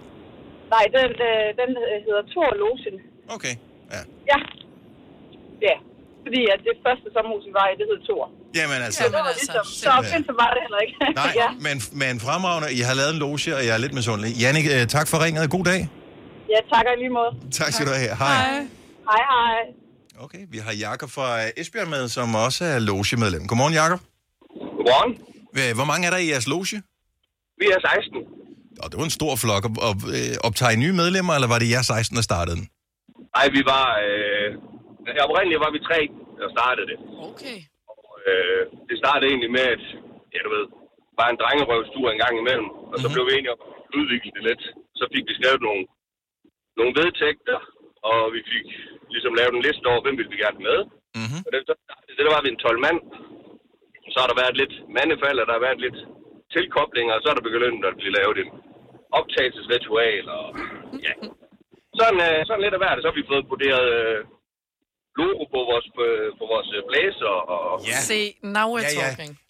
S8: Nej, den, øh, den øh, hedder Thor Logen.
S1: Okay, ja.
S8: Ja. Ja, fordi at det første sommerhus, vi var i, det hed Thor.
S1: Jamen altså...
S8: Så det var ligesom, så
S1: Ja.
S8: opfindsom var det heller ikke. (laughs)
S1: Nej, ja. men, men fremragende. I har lavet en loge, og jeg er lidt misundelig. Jannik, øh, tak for ringet. God dag.
S8: Ja, tak og i lige måde.
S1: Tak skal du have. Hej.
S8: Hej, hej.
S1: Okay, vi har Jakob fra øh, Esbjerg med, som også er logemedlem. Godmorgen, Jakob.
S17: Godmorgen.
S1: Hvor mange er der i jeres loge?
S17: Vi er 16.
S1: Og det var en stor flok. Og, og, øh, optager I nye medlemmer, eller var det jer 16, der startede den?
S17: Nej, vi var... Øh, ja, oprindeligt var vi tre, der startede det.
S4: Okay.
S17: Og, øh, det startede egentlig med, at... Ja, du ved... Bare en drengerøvstur en gang imellem. Og
S1: Mhm.
S17: så blev vi enige om at udvikle det lidt. Så fik vi skrevet nogle, nogle vedtægter. Og vi fik ligesom lavet en liste over, hvem ville vi gerne have med.
S1: Mhm.
S17: Mm-hmm. Og det, så, startede det, der var vi en 12 mand. Så har der været lidt mandefald, og der har været lidt tilkoblinger. Og så er der begyndt at blive lavet en optagelsesritual. Og, ja, sådan, øh, sådan lidt af hvert. Så har vi fået vurderet øh, logo på vores, øh, på vores øh, blæser. Og,
S1: ja.
S4: Se, now we're
S1: ja.
S4: talking.
S1: det, det,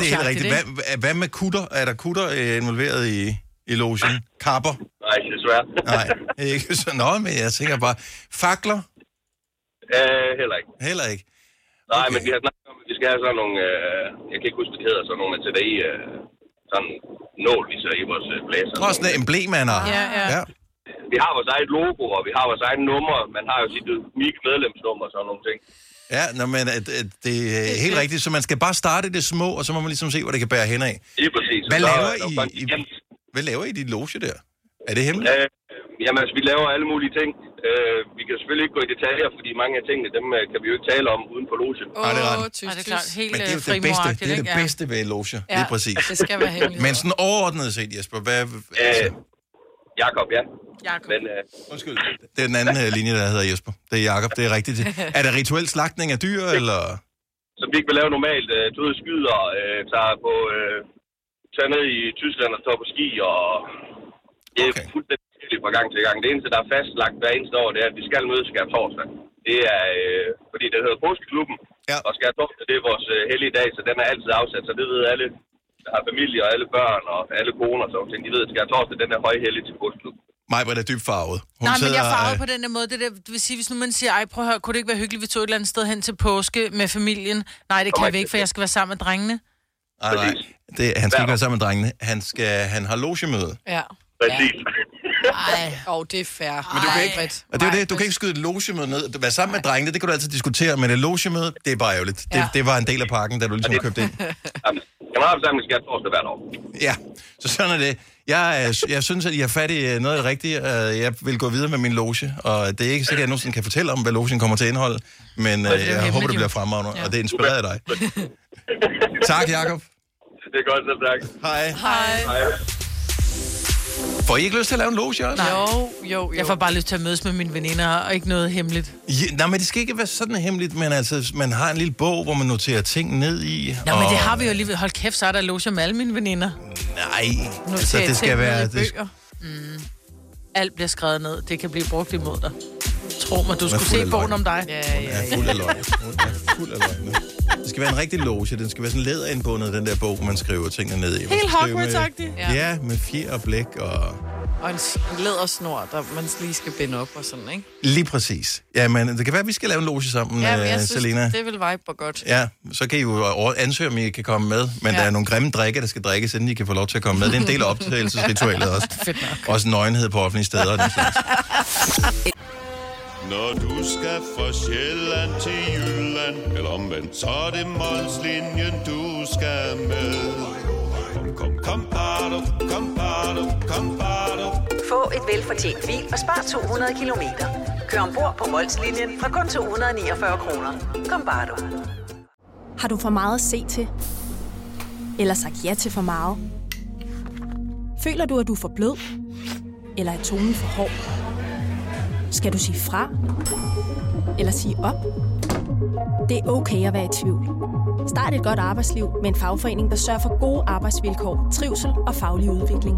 S1: det er helt rigtigt. Hvad, hvad- hvad med kutter? Er der kutter øh, involveret i, i logen? Kapper?
S17: Nej, desværre.
S1: Nej, ikke så Nå, men jeg tænker bare... Fakler?
S17: Øh, heller ikke.
S1: Heller ikke?
S17: Nej, men vi har snakket om, at vi skal have sådan nogle... Øh, jeg kan ikke huske, hvad det hedder. Sådan nogle, man sætter i... Øh, sådan en nål, vi sætter i vores øh, blæser.
S1: Nå, sådan emblemer,
S17: Ja, ja.
S1: ja.
S17: Vi har vores eget logo, og vi har vores eget nummer. Man har jo sit unikke medlemsnummer og sådan nogle ting.
S1: Ja, nå, men at, at det er helt rigtigt, så man skal bare starte i det små, og så må man ligesom se, hvor det kan bære hen af.
S17: Lige præcis.
S1: Hvad
S17: Så-
S1: laver
S17: så-
S1: I, i, hvad laver I i dit loge der? Er det hemmeligt?
S17: Øh, jamen, altså, vi laver alle mulige ting. Øh, vi kan selvfølgelig ikke gå i detaljer, fordi mange af tingene, dem øh, kan vi jo ikke tale om uden for logen.
S1: Nej, det er ret.
S4: Åh, det er klart. Helt
S1: Men det
S5: øh,
S1: er jo det bedste,
S4: frimoragtigt,
S1: det er det
S4: ikke? Ja.
S1: bedste ved loger,
S4: Ja,
S1: ja, lige præcis.
S4: det skal være hemmeligt.
S1: Men sådan overordnet set, Jesper, hvad... Altså,
S17: Jakob, ja.
S4: Jakob.
S17: Men, øh,
S1: Undskyld. det er den anden øh, linje, der hedder Jesper. Det er Jakob, det er rigtigt. Er der rituel slagtning af dyr, eller...
S17: Som vi ikke vil lave normalt. Øh, du ved, skyder, øh, tager, på, øh, tager ned i Tyskland og tager på ski, og det er okay. fuldstændig forskelligt fra gang til gang. Det eneste, der er fastlagt hver eneste år, det er, at vi skal mødes skær torsdag. Det er, øh, fordi det hedder påskeklubben,
S1: ja.
S17: og skær torsdag, det er vores øh, hellige dag, så den er altid afsat, så det ved alle der har familie og alle børn og alle koner, så de ved, at skær torsdag, den er højhellig til påskeklubben.
S1: Mig var da dybt farvet. Hun
S5: Nej, men jeg
S1: sidder,
S5: er farvet
S1: øh,
S5: på den der måde. Det, der, det vil sige, hvis nu man siger, ej, prøv at høre, kunne det ikke være hyggeligt, vi tog et eller andet sted hen til påske med familien? Nej, det kan vi ikke, for jeg skal være sammen med drengene.
S1: Nej, nej. Det, han skal ikke være sammen med drengene. Han, skal, han har logemøde.
S5: Ja.
S17: Præcis.
S4: Nej. Åh, oh, det er fair. Men
S1: du kan
S4: ikke...
S1: Og det er jo det, du kan ikke skyde et logemøde ned. At Være sammen med drengene, det kan du altid diskutere, men et logemøde, det er bare ærgerligt. Det,
S17: Ja.
S1: det var en del af pakken, da du ligesom købte ind.
S17: Generalforsamling skal torsdag hvert år.
S1: Ja, så sådan er det. Jeg, er- jeg synes, at I har fat i øh, noget af det rigtige. og Jeg vil gå videre med min loge, og det er ikke sikkert, at jeg nogensinde kan fortælle om, hvad logen kommer til at indeholde, men øh,
S17: det er jo
S1: jeg håber,
S17: hemmeligt,
S1: det
S17: jo.
S1: bliver fremragende, og det er inspireret af dig. Tak, Jacob.
S17: Det er godt, så
S18: (laughs)
S17: tak.
S1: Hej.
S5: Hej.
S17: Hej.
S1: Får I ikke lyst til at lave en loge også?
S5: Nej. Jo, jo, jo. Jeg får bare lyst til at mødes med mine veninder, og ikke noget hemmeligt.
S1: Ja, nej, men det skal ikke være sådan hemmeligt, men altså, man har en lille bog, hvor man noterer ting ned i.
S5: Nå, men det har vi jo alligevel. Hold kæft, så er der loge med alle mine veninder.
S1: Nej,
S5: Nu
S1: altså, det skal være... Det,
S5: Det... Mm. Alt bliver skrevet ned. Det kan blive brugt imod dig. Tro mig,
S1: Hun
S5: du
S1: er
S5: skulle
S1: fuld af
S5: se bogen
S1: løgn.
S5: om dig. Ja,
S1: ja, ja. fuld af løgn. Fuld af løgne. Det skal være en rigtig loge. Den skal være sådan læderindbundet, den der bog, man skriver tingene ned i. Man
S4: Helt
S1: skal skrive
S4: Hogwarts-agtig.
S1: med- Ja, med fjer og blæk og...
S4: Og en s- lædersnor, der man lige skal binde op og sådan, ikke?
S1: Lige præcis. Ja, men det kan være, at vi skal lave en loge sammen,
S4: Ja,
S1: ja,
S4: men jeg synes,
S1: Selena.
S4: det vil vibe på godt.
S1: Ja, så kan I jo over- ansøge, om I kan komme med. Men
S4: Ja.
S1: ja. der er nogle grimme drikke, der skal drikkes, inden I kan få lov til at komme med. Det er en
S4: (laughs)
S1: del af optagelsesritualet også.
S5: Fedt nok.
S1: Også nøgenhed på offentlige steder. og den slags.
S19: Når du skal fra Sjælland til Jylland, eller omvendt, så er det Molslinjen, du skal med. Kom, kom, kom, bado, kom, bado, kom, bado.
S16: Få et velfortjent bil og spar 200 kilometer. Kør ombord på Molslinjen fra kun 249 kroner. Kom bare du.
S20: Har du for meget at se til? Eller sagt ja til for meget? Føler du, at du er for blød? Eller er tonen for hård? Skal du sige fra? Eller sige op? Det er okay at være i tvivl. Start et godt arbejdsliv med en fagforening, der sørger for gode arbejdsvilkår, trivsel og faglig udvikling.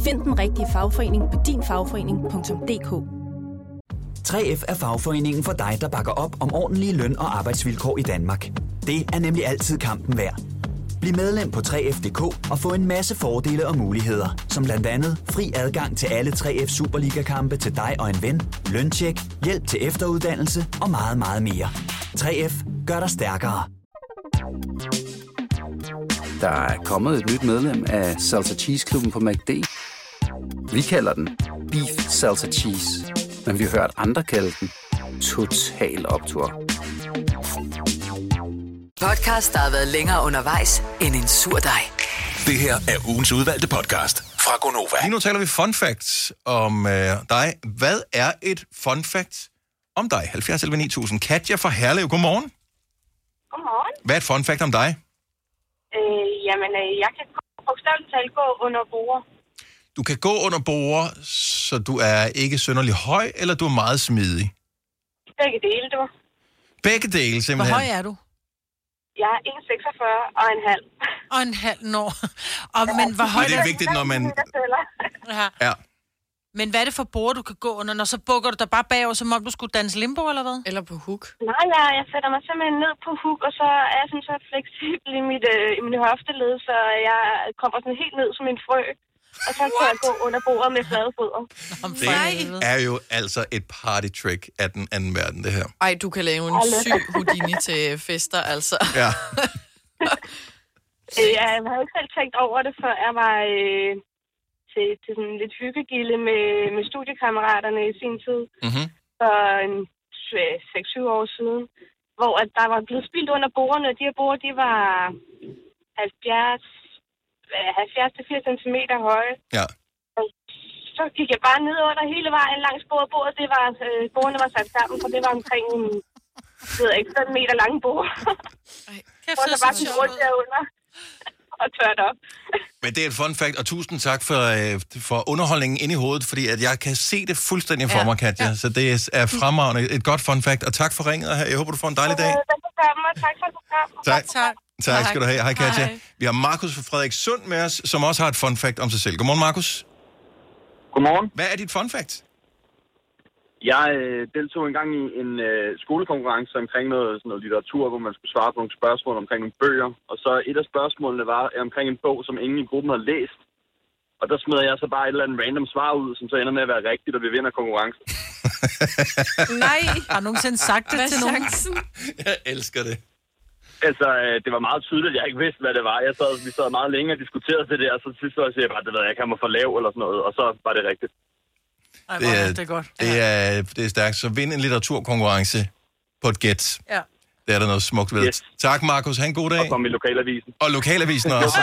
S20: Find den rigtige fagforening på dinfagforening.dk
S21: 3F er fagforeningen for dig, der bakker op om ordentlige løn- og arbejdsvilkår i Danmark. Det er nemlig altid kampen værd. Bliv medlem på 3F.dk og få en masse fordele og muligheder, som blandt andet fri adgang til alle 3F Superliga-kampe til dig og en ven, løntjek, hjælp til efteruddannelse og meget, meget mere. 3F gør dig stærkere.
S22: Der er kommet et nyt medlem af Salsa Cheese Klubben på MACD. Vi kalder den Beef Salsa Cheese, men vi har hørt andre kalde den Total Optor.
S16: Podcast, der har været længere undervejs end en sur dej.
S1: Det her er ugens udvalgte podcast fra Gonova. Lige nu taler vi fun facts om øh, dig. Hvad er et fun fact om dig? 70 11 9000. Katja fra Herlev, godmorgen.
S23: Godmorgen.
S1: Hvad er et fun fact om dig?
S23: Øh, jamen, øh, jeg kan bogstaveligt talt gå under bordet.
S1: Du kan gå under borger, så du er ikke synderlig høj, eller du er meget smidig.
S23: Begge dele, du.
S1: Begge dele, simpelthen.
S5: er du?
S23: Jeg er 1,46 og en halv.
S5: Og en halv når. Og, men hvor højt
S1: Men det er vigtigt, når man...
S5: Ja.
S1: Ja.
S5: Men hvad er det for bord, du kan gå under, når så bukker du dig bare bagover, som om du skulle danse limbo eller hvad?
S4: Eller på hook.
S23: Nej, jeg, jeg sætter mig simpelthen ned på huk, og så er jeg sådan så fleksibel i, mit, øh, i mine hofteled, så jeg kommer sådan helt ned som en frø. Og så kan jeg gå under bordet med flade fødder.
S1: Det er jo altså et party trick af den anden verden, det her.
S4: Ej, du kan lave en syg Houdini til fester, altså.
S1: Ja.
S23: Øh, jeg havde ikke selv tænkt over det, før jeg var øh, til, til sådan lidt hyggegilde med, med studiekammeraterne i sin tid.
S1: Mm-hmm.
S23: for en tw- 6-7 år siden, hvor at der var blevet spildt under bordene, og de her borde, de var 70, øh, 70-80 cm høje.
S1: Ja.
S23: Og så gik jeg bare ned under hele vejen langs bordet. Bordet, det var, øh, bordene var sat sammen, for det var omkring en, jeg ved ikke, 5 meter lang bord. Hvor
S5: det
S23: der
S5: er
S23: bare
S5: så
S23: sådan
S5: sjovt
S23: rundt derunder og tørt op.
S1: Men det er et fun fact, og tusind tak for, øh, for underholdningen ind i hovedet, fordi at jeg kan se det fuldstændig for
S23: Ja.
S1: mig, Katja. Så det er fremragende. Et godt fun fact, og tak for ringet, og jeg håber, du får en dejlig dag.
S23: Øh, velbekomme, og tak for et program.
S1: Tak.
S5: Tak.
S1: Tak skal du have. Hej, Katja.
S23: Hej.
S1: Vi har Markus fra Frederik Sund med os, som også har et fun fact om sig selv. Godmorgen, Markus.
S18: Godmorgen.
S1: Hvad er dit fun fact?
S18: Jeg øh, deltog engang i en øh, skolekonkurrence omkring noget, sådan noget litteratur, hvor man skulle svare på nogle spørgsmål omkring nogle bøger. Og så et af spørgsmålene var øh, omkring en bog, som ingen i gruppen havde læst. Og der smed jeg så bare et eller andet random svar ud, som så ender med at være rigtigt, og vi vinder
S4: (laughs)
S18: konkurrencen.
S5: (laughs) Nej. Har du nogensinde sagt det
S4: Hvad
S5: til
S4: er
S5: nogen?
S4: chancen?
S1: (laughs) Jeg elsker det.
S18: Altså, øh, det var meget tydeligt, at jeg ikke vidste, hvad det var. Jeg sad, vi sad meget længe og diskuterede det der, og så til sidst var jeg siger jeg bare, det ved jeg ikke, han var for lav eller sådan noget, og så var det rigtigt.
S5: Ej, hvor er det godt.
S1: Det er, det er stærkt. Så vind en litteraturkonkurrence på et gæt.
S5: Ja.
S1: Det er der noget smukt ved. Yes. Tak, Markus. Ha' en god dag. Og kom
S18: i lokalavisen.
S1: Og lokalavisen
S17: (laughs)
S1: også.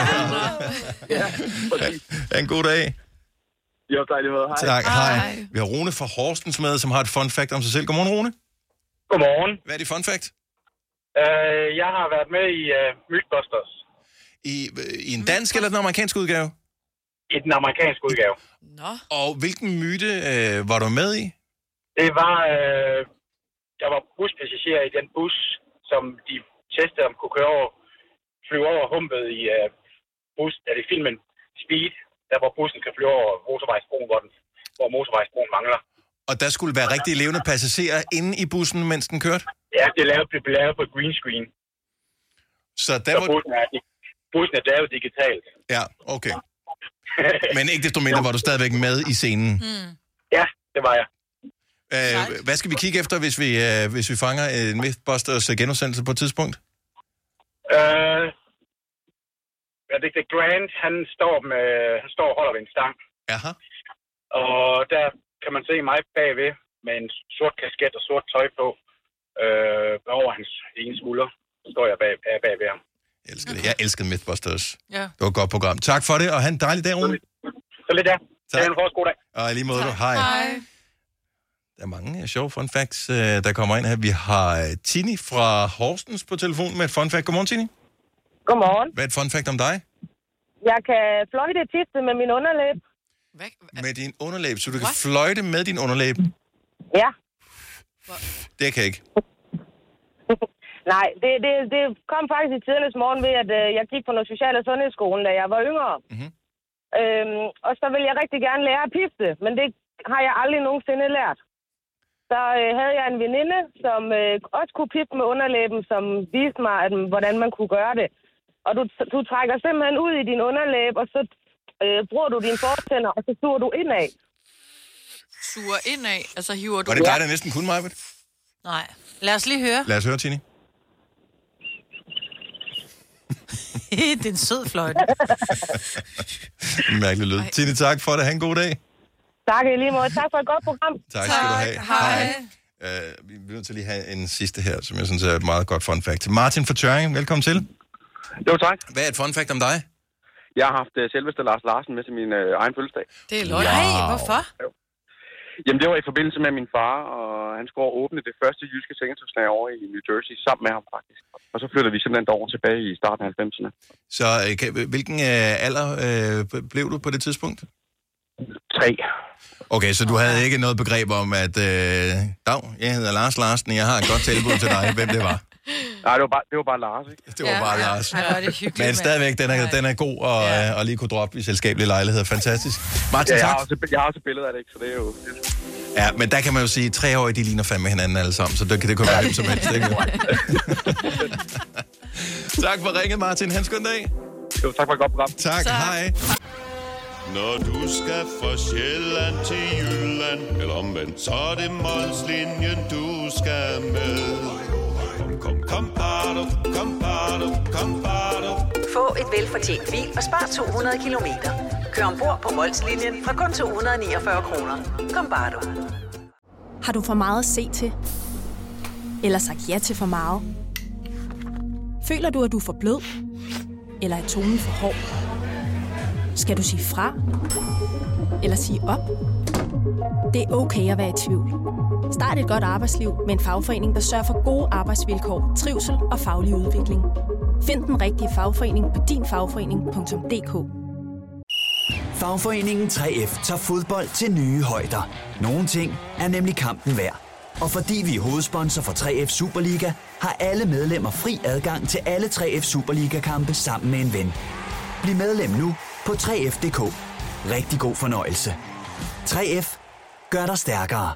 S1: ha' en god dag.
S18: Jo, dejligt måde. Hej.
S1: Tak. Hej. Hej. Vi har Rune fra Horsens med, som har et fun fact om sig selv. Godmorgen, Rune.
S3: Godmorgen.
S1: Hvad er dit fun fact?
S3: Øh, jeg har været med i uh, Mythbusters.
S1: I, øh, I en dansk eller den amerikanske udgave?
S3: I den amerikanske udgave.
S4: Nå.
S1: Og hvilken myte øh, var du med i?
S3: Det var, øh, jeg var buspassager i den bus, som de testede, om kunne køre over, flyve over humpet i øh, bus, er det filmen Speed, der hvor bussen kan flyve over motorvejsbroen, hvor, den, hvor motorvejsbroen mangler.
S1: Og der skulle være rigtig levende passagerer inde i bussen, mens den kørte?
S3: Ja, det lavede, det blev lavet på green screen.
S1: Så der
S3: Så
S1: var...
S3: bussen er, bussen er lavet digitalt.
S1: Ja, okay. Men ikke desto mindre var du stadigvæk med i scenen.
S3: Ja, det var jeg.
S1: Øh, hvad skal vi kigge efter, hvis vi, øh, hvis vi fanger en Mythbusters øh, genudsendelse på et tidspunkt?
S3: Øh, ja, det er Grant, han står, med, han står og holder ved en stang.
S1: Jaha.
S3: Og der kan man se mig bagved med en sort kasket og sort tøj på. Øh, over hans ene skulder står jeg bag, bag, bagved ham.
S1: Jeg elsker det. Jeg elskede Mythbusters.
S3: Ja.
S1: Det var et godt program. Tak for det, og have en dejlig dag, Rune.
S3: Så lidt der.
S1: Tak.
S3: Ha' en forrest god dag.
S1: Og i lige måde, du. Hej. Der er mange øh, sjove fun facts, øh, der kommer ind her. Vi har øh, Tini fra Horsens på telefonen med et fun fact. Godmorgen, Tini.
S6: Godmorgen.
S1: Hvad er et fun fact om dig?
S6: Jeg kan fløjte et tifte med min underlæb.
S1: Med din underlæb, så du kan fløjte med din underlæb.
S6: Ja.
S1: Det kan jeg ikke.
S6: Nej, det, det, det kom faktisk i tidernes morgen ved, at øh, jeg gik på noget social- og sundhedsskolen, da jeg var yngre.
S1: Mm-hmm.
S6: Øhm, og så ville jeg rigtig gerne lære at pifte, men det har jeg aldrig nogensinde lært. Så øh, havde jeg en veninde, som øh, også kunne pifte med underlæben, som viste mig, at, hvordan man kunne gøre det. Og du, du trækker simpelthen ud i din underlæb, og så øh, bruger du dine fortænder, og så suger du indad.
S4: Suger indad, altså hiver du...
S1: Var det dig, der næsten kunne mig?
S5: Nej. Lad os lige høre.
S1: Lad os høre, (laughs) Tini.
S5: det er en sød fløjte.
S1: Mærkelig lyd. Tini, tak for det. Ha' en god dag.
S6: (laughs) Tak i lige måde. Tak for et godt program.
S1: Tak skal du have.
S6: Hej.
S1: Uh, vi er nødt til lige have en sidste her, som jeg synes er et meget godt fun fact. Martin fra Tøring, velkommen til.
S18: Jo, tak.
S1: Hvad er et fun fact om dig?
S18: Jeg har haft øh, selveste Lars Larsen med til min øh, egen fødselsdag.
S4: Det er løgn. Nej, hvorfor?
S18: Jamen, det var i forbindelse med min far, og han skulle over og åbne det første jyske sengetøjslag over i New Jersey, sammen med ham faktisk. Og så flyttede vi simpelthen derover tilbage i starten af 90'erne.
S1: Så øh, kan, hvilken øh, alder øh, blev du på det tidspunkt?
S18: Tre.
S1: Okay, så du havde ikke noget begreb om, at øh, Dag, jeg hedder Lars Larsen, og jeg har et godt tilbud til dig, hvem det var.
S18: Nej, det var bare, det var bare Lars, ikke?
S1: Det var bare Lars.
S5: Ej, hvor er det hyggeligt,
S1: Men
S5: mand.
S1: stadigvæk, den er, den er god at, ja. at lige kunne droppe i selskabelige lejligheder. Fantastisk. Martin,
S18: ja, jeg,
S1: tak.
S18: har også, jeg har også billeder af det, ikke? Så det er jo...
S1: Ja, men der kan man jo sige, at treårige, de ligner fandme hinanden alle sammen, så det, det kunne være hvem som helst. Ikke? tak for ringet, Martin. Hans, god dag.
S18: Jo, tak for et godt program.
S1: Tak, tak. hej.
S19: Når du skal fra Sjælland til Jylland Eller omvendt, så er det Molslinjen, du skal med Kom, kom, kom, bado, kom, bado, kom, bado.
S16: Få et velfortjent bil og spar 200 kilometer. Kør ombord på Molslinjen fra kun 249 kroner. Kom bare du.
S20: Har du for meget at se til? Eller sagt ja til for meget? Føler du, at du er for blød? Eller er tonen for hård? Skal du sige fra? Eller sige op? Det er okay at være i tvivl. Start et godt arbejdsliv med en fagforening, der sørger for gode arbejdsvilkår, trivsel og faglig udvikling. Find den rigtige fagforening på dinfagforening.dk.
S21: Fagforeningen 3F tager fodbold til nye højder. Nogle ting er nemlig kampen værd. Og fordi vi er hovedsponsor for 3F Superliga, har alle medlemmer fri adgang til alle 3F Superliga-kampe sammen med en ven. Bliv medlem nu på 3F.dk. Rigtig god fornøjelse. 3F gør dig stærkere.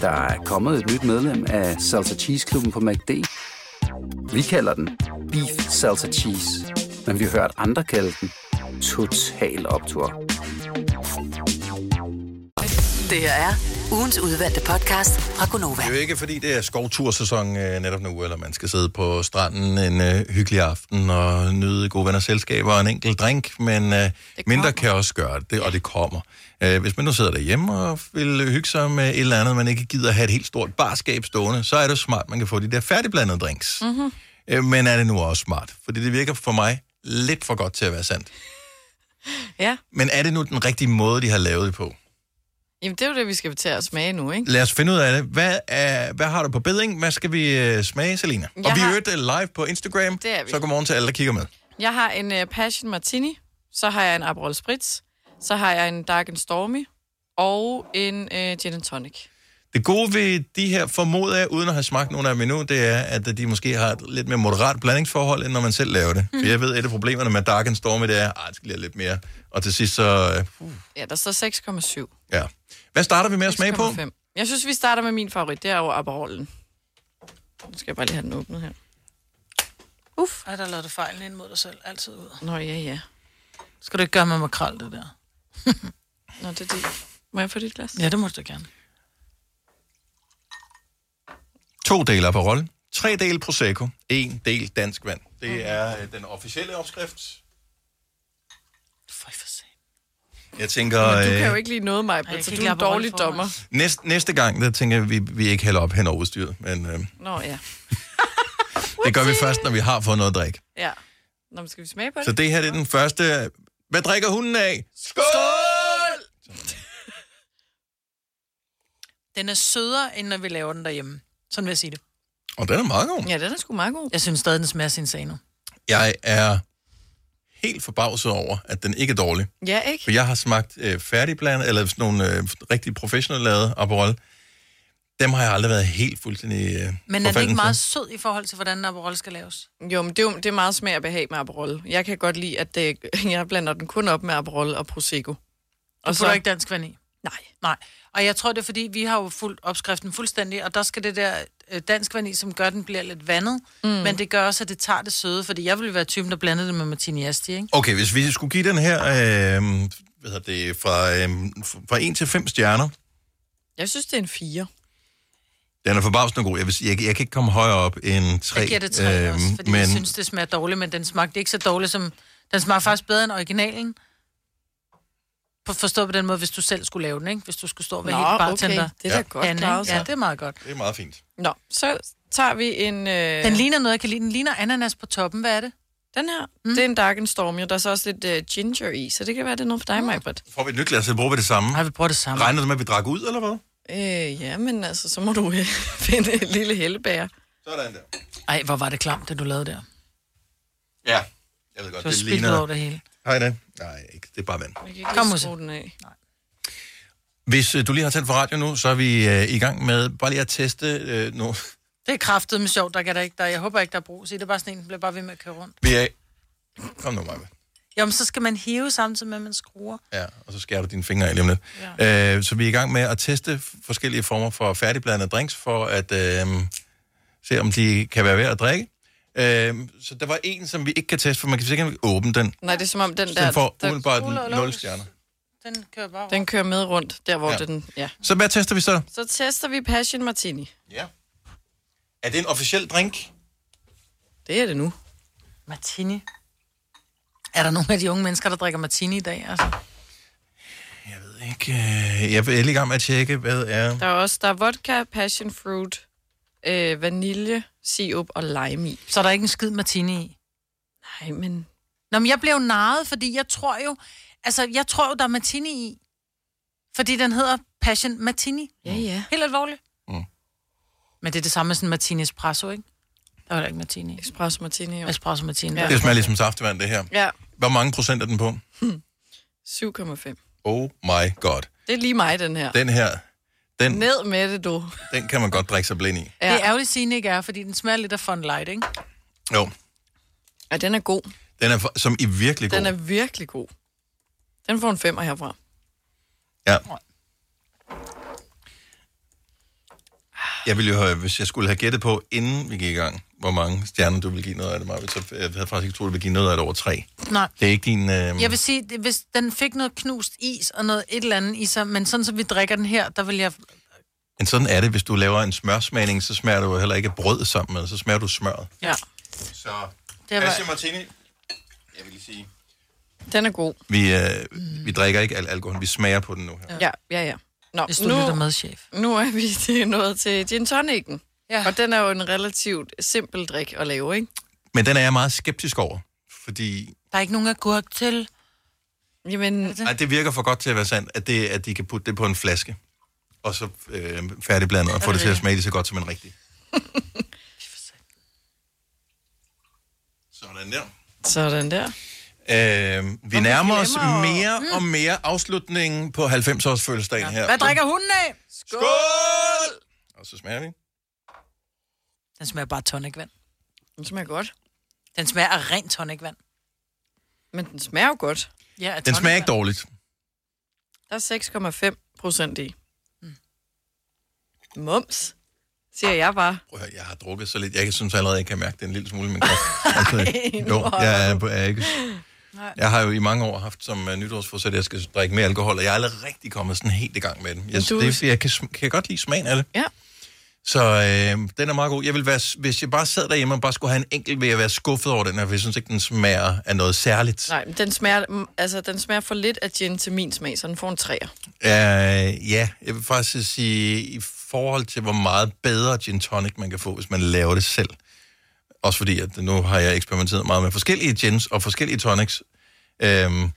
S22: Der er kommet et nyt medlem af Salsa Cheese Klubben på MACD. Vi kalder den Beef Salsa Cheese, men vi har hørt andre kalde den Total Optor.
S16: Det her er Ugens udvalgte podcast fra Gonova.
S1: Det er jo ikke, fordi det er skovtursæson øh, netop nu, eller man skal sidde på stranden en øh, hyggelig aften og nyde gode venner selskaber og en enkelt drink, men øh, mindre kan også gøre det, og det kommer. Øh, hvis man nu sidder derhjemme og vil hygge sig med et eller andet, man ikke gider have et helt stort barskab stående, så er det jo smart, man kan få de der færdigblandede drinks.
S7: Mm-hmm.
S1: Øh, men er det nu også smart? Fordi det virker for mig lidt for godt til at være sandt.
S4: Ja,
S1: Men er det nu den rigtige måde, de har lavet det på?
S4: jamen det er jo det, vi skal til at smage nu, ikke?
S1: Lad os finde ud af det. Hvad, er, hvad har du på beding? Hvad skal vi øh, smage, Selina?
S4: Jeg
S1: og vi
S4: har-
S1: har... øvrigt øh, live på Instagram,
S4: Det er vi.
S1: så godmorgen til alle, der kigger med.
S4: Jeg har en uh, Passion Martini, så har jeg en Aperol Spritz, så har jeg en Dark and Stormy, og en uh, Gin and Tonic.
S1: Det gode ved de her, formoder jeg, uden at have smagt nogen af dem endnu, det er, at de måske har et lidt mere moderat blandingsforhold, end når man selv laver
S4: Mhm.
S1: det. Mm. For jeg ved, et af problemerne med Dark and Stormy, det er, at det skal lige have lidt mere. Og til sidst så... øh, puh,
S4: Ja, der står 6,7.
S1: Ja. Hvad starter vi med at smage på?
S4: 6,5. Jeg synes, vi starter med min favorit, det er jo Aperolen. Nu skal jeg bare lige have den åbnet her. Uff.
S5: Ej, der lavede du fejlen ind mod dig selv. Altid ud.
S4: Nå, ja, ja.
S5: Skal du ikke gøre med makrel, det der?
S4: Nå, det er det. Må jeg få dit glas?
S5: Ja, det må du gerne.
S1: To dele Aperol, tre dele Prosecco, en del dansk vand. Det er øh, den officielle opskrift. Jeg tænker...
S4: Men du
S1: øh,
S4: kan jo ikke lide noget, mig,
S5: jeg
S4: så
S5: kan
S4: du
S5: ikke lide
S4: er en
S5: Aperol
S4: dårlig
S5: for
S4: dommer.
S1: Næste, næste gang, der tænker jeg, vi, vi ikke hælder op hen over udstyret, men øh,
S4: Nå, ja.
S1: det gør vi først, når vi har fået noget at drikke.
S4: Ja. Nå, men skal vi smage på det?
S1: Så det her det er den første... Hvad drikker hunden af? Skål!
S5: Den er sødere, end når vi laver den derhjemme. Sådan vil jeg sige det.
S1: Og den er meget god.
S4: Ja, den er sgu meget god.
S5: Jeg synes stadig, den smager sin sag nu.
S1: Jeg er helt forbavset over, at den ikke er dårlig.
S4: Ja, ikke?
S1: For jeg har smagt øh, færdigblandet, eller sådan nogle øh, rigtig professionelle lavede Aperol. Dem har jeg aldrig været helt fuldstændig øh,
S5: Men er den
S1: forfalden
S5: ikke
S1: til.
S5: meget sød i forhold til, hvordan en Aperol skal laves?
S4: Jo, men det er, jo, det er meget smag og behag med Aperol. Jeg kan godt lide, at det, (laughs) jeg blander den kun op med Aperol og Prosecco.
S5: Og så er ikke dansk vand i?
S4: Nej.
S5: Nej. Og jeg tror, det er fordi, vi har jo fulgt opskriften fuldstændig, og der skal det der øh, dansk vand i, som gør, at den bliver lidt vandet. Mm. Men det gør også, at det tager det søde, fordi jeg ville være typen, der blandede det med Martini Asti, ikke?
S1: Okay, hvis vi skulle give den her øh, hvad hedder det, fra, øh, fra 1 til 5 stjerner,
S4: Jeg synes, det er en 4.
S1: Den er forbavsende god. Jeg, vil sige, jeg, jeg kan ikke komme højere op end tre. øh,
S5: Jeg giver det tre øhm, også, fordi men... jeg
S1: men
S5: synes, det smager dårligt, men den smagte ikke så dårligt som... Den smager faktisk bedre end originalen. For- Forstået på den måde, hvis du selv skulle lave den, ikke? Hvis du skulle stå og være
S4: Nå,
S5: helt
S4: okay.
S5: bartender.
S4: Det er da godt
S5: Anne,
S4: klaret, så.
S5: Ja, det er meget godt.
S1: Det er meget fint.
S4: Nå, så tager vi en... Øh...
S5: Den ligner noget, jeg kan lide. Den ligner ananas på toppen. Hvad er det?
S4: Den her. Mm. Det er en Dark and Storm, jo. Der er så også lidt øh, ginger i, så det kan være, det er noget for dig, Majbert.
S1: får vi et nyt glas, så bruger vi det samme.
S5: Nej, vi bruger det samme.
S1: Regner du med, at vi drak ud, eller hvad?
S4: Øh, ja, men altså, så må du øh, (laughs) finde en lille hellebær.
S1: Sådan der.
S5: Ej, hvor var det klamt, det du lavede der.
S1: Ja, jeg ved godt,
S5: Du har
S1: det
S5: spildt
S1: ligner...
S5: over det hele.
S1: Hej da. Nej, ikke. det er bare vand.
S4: Jeg kan ikke
S5: Kom,
S4: lige
S5: Musse.
S4: skrue den af.
S1: Hvis øh, du lige har tændt for radio nu, så er vi øh, i gang med bare lige at teste øh, nu. (laughs)
S5: Det er kraftet med sjovt, der kan der ikke der. Jeg håber ikke, der er brug i. Det er bare sådan en, den bliver bare ved med at køre rundt.
S1: Vi er... Kom nu, Maja.
S5: Jo, men så skal man hive samtidig med, at man skruer.
S1: Ja, og så skærer du dine fingre af lige om lidt. Ja. Øh, så vi er i gang med at teste forskellige former for færdigblandede drinks, for at øh, se, om de kan være værd at drikke. Øh, så der var en, som vi ikke kan teste, for man kan sikkert åbne den.
S4: Nej, det er som om den
S1: Så
S4: der...
S1: den får
S4: der,
S1: umiddelbart 0 stjerner.
S5: Den kører bare
S4: Den kører med rundt, der hvor
S1: Ja.
S4: ja. den... Ja.
S1: Så hvad tester vi så?
S4: Så tester vi Passion Martini.
S1: Ja. Er det en officiel drink?
S4: Det er det nu.
S5: Martini. Er der nogle af de unge mennesker, der drikker martini i dag? Altså?
S1: Ikke, øh, jeg er lige i gang med at tjekke, hvad er...
S4: Der er også der er vodka, passion fruit, øh, vanilje, sirup og lime i.
S5: Så er der ikke en skid martini i?
S4: Nej, men...
S5: Nå, men jeg blev narret, fordi jeg tror jo... Altså, jeg tror jo, der er martini i. Fordi den hedder Passion Martini.
S4: Ja, ja.
S5: Helt alvorligt.
S1: Mm.
S5: Men det er det samme med sådan en martini espresso, ikke? Der var der ikke martini.
S4: Espresso martini, jo.
S5: Espresso martini.
S1: Ja. Det smager ligesom saftevand, det her.
S4: Ja,
S1: Hvor mange procent er den på?
S4: 7,5.
S1: Oh my god.
S4: Det er lige mig, den her.
S1: Den her, den,
S4: Ned med det, du.
S1: den kan man godt drikke sig blind i.
S5: Ja. Det er ærgerligt, Signe ikke er, fordi den smager lidt af fun light, ikke?
S1: Jo,
S4: Ja, den er god.
S1: den er for, som i virkelig god.
S4: Den er virkelig god. Den får en femmer herfra.
S1: Ja. Jeg ville jo have, hvis jeg skulle have gættet på, inden vi gik i gang, hvor mange stjerner du vil give noget af det, Marvitt. Så jeg havde faktisk ikke troet, du ville give noget af det over tre.
S5: Nej.
S1: Det er ikke din... Øh...
S5: Jeg vil sige, det- hvis den fik noget knust is og noget et eller andet i sig, men sådan som vi drikker den her, der vil jeg...
S1: Men sådan er det, hvis du laver en smørsmagning, så smager du jo heller ikke af brød sammen med, så smager du smøret.
S5: Ja.
S1: Så,
S5: Det
S1: Hvad siger Martini? Jeg vil lige sige...
S4: Den er god.
S1: Vi, øh, vi drikker ikke al alkohol, vi smager på den nu her.
S4: Ja, ja, ja. Nå,
S5: Hvis du lytter med, chef.
S4: Nu er vi (laughs) til nået til gin tonicen. Ja. Og den er jo en relativt simpel drik at lave, ikke?
S1: Men den er jeg meget skeptisk over, fordi
S5: Der er ikke nogen agurk til.
S4: Jamen...
S1: ej, det virker for godt til at være sandt, at, det, at de kan putte det på en flaske, og så øh, færdigblandet, og få det til at smage lige så godt som en rigtig.
S4: (laughs)
S1: Sådan der.
S4: Sådan der.
S1: Øh, vi nærmer os mere og mere afslutningen på 90-års fødselsdagen her.
S5: Hvad drikker hunden af?
S1: Skål! Og så smager vi.
S5: Den smager bare af tonicvand.
S4: Den smager godt.
S5: Den smager af rent tonicvand.
S4: Men den smager jo godt.
S5: Ja, af
S1: Den
S5: tonicvand.
S1: smager ikke dårligt.
S4: Der er 6,5 procent i.
S5: Mm.
S4: Mums, siger jeg bare.
S1: Prøv at høre, jeg har drukket så lidt. Jeg synes allerede, jeg kan mærke det en lille smule i min krop.
S4: (laughs)
S1: Altså,
S4: nu
S1: jo,
S4: holder
S1: jeg er, jeg er ikke...
S4: Nej.
S1: Jeg har jo i mange år haft som uh, nytårsforsæt, at jeg skal drikke mere alkohol, og jeg er aldrig rigtig kommet sådan helt i gang med den. Jeg,
S4: du-
S1: du... det, er fordi, jeg kan, sm- kan godt lide smagen af det.
S4: Ja.
S1: Så øh, den er meget god. Jeg vil være, s- hvis jeg bare sad derhjemme og bare skulle have en enkelt, ville jeg være skuffet over den her, for jeg synes ikke, den smager af noget særligt.
S4: Nej, men den smager, mm, altså, den smager for lidt af gin til min smag, så den får en træer.
S1: Øh, ja, jeg vil faktisk sige, i forhold til, hvor meget bedre gin tonic man kan få, hvis man laver det selv. Også fordi, at nu har jeg eksperimenteret meget med forskellige gins og forskellige tonics, øhm,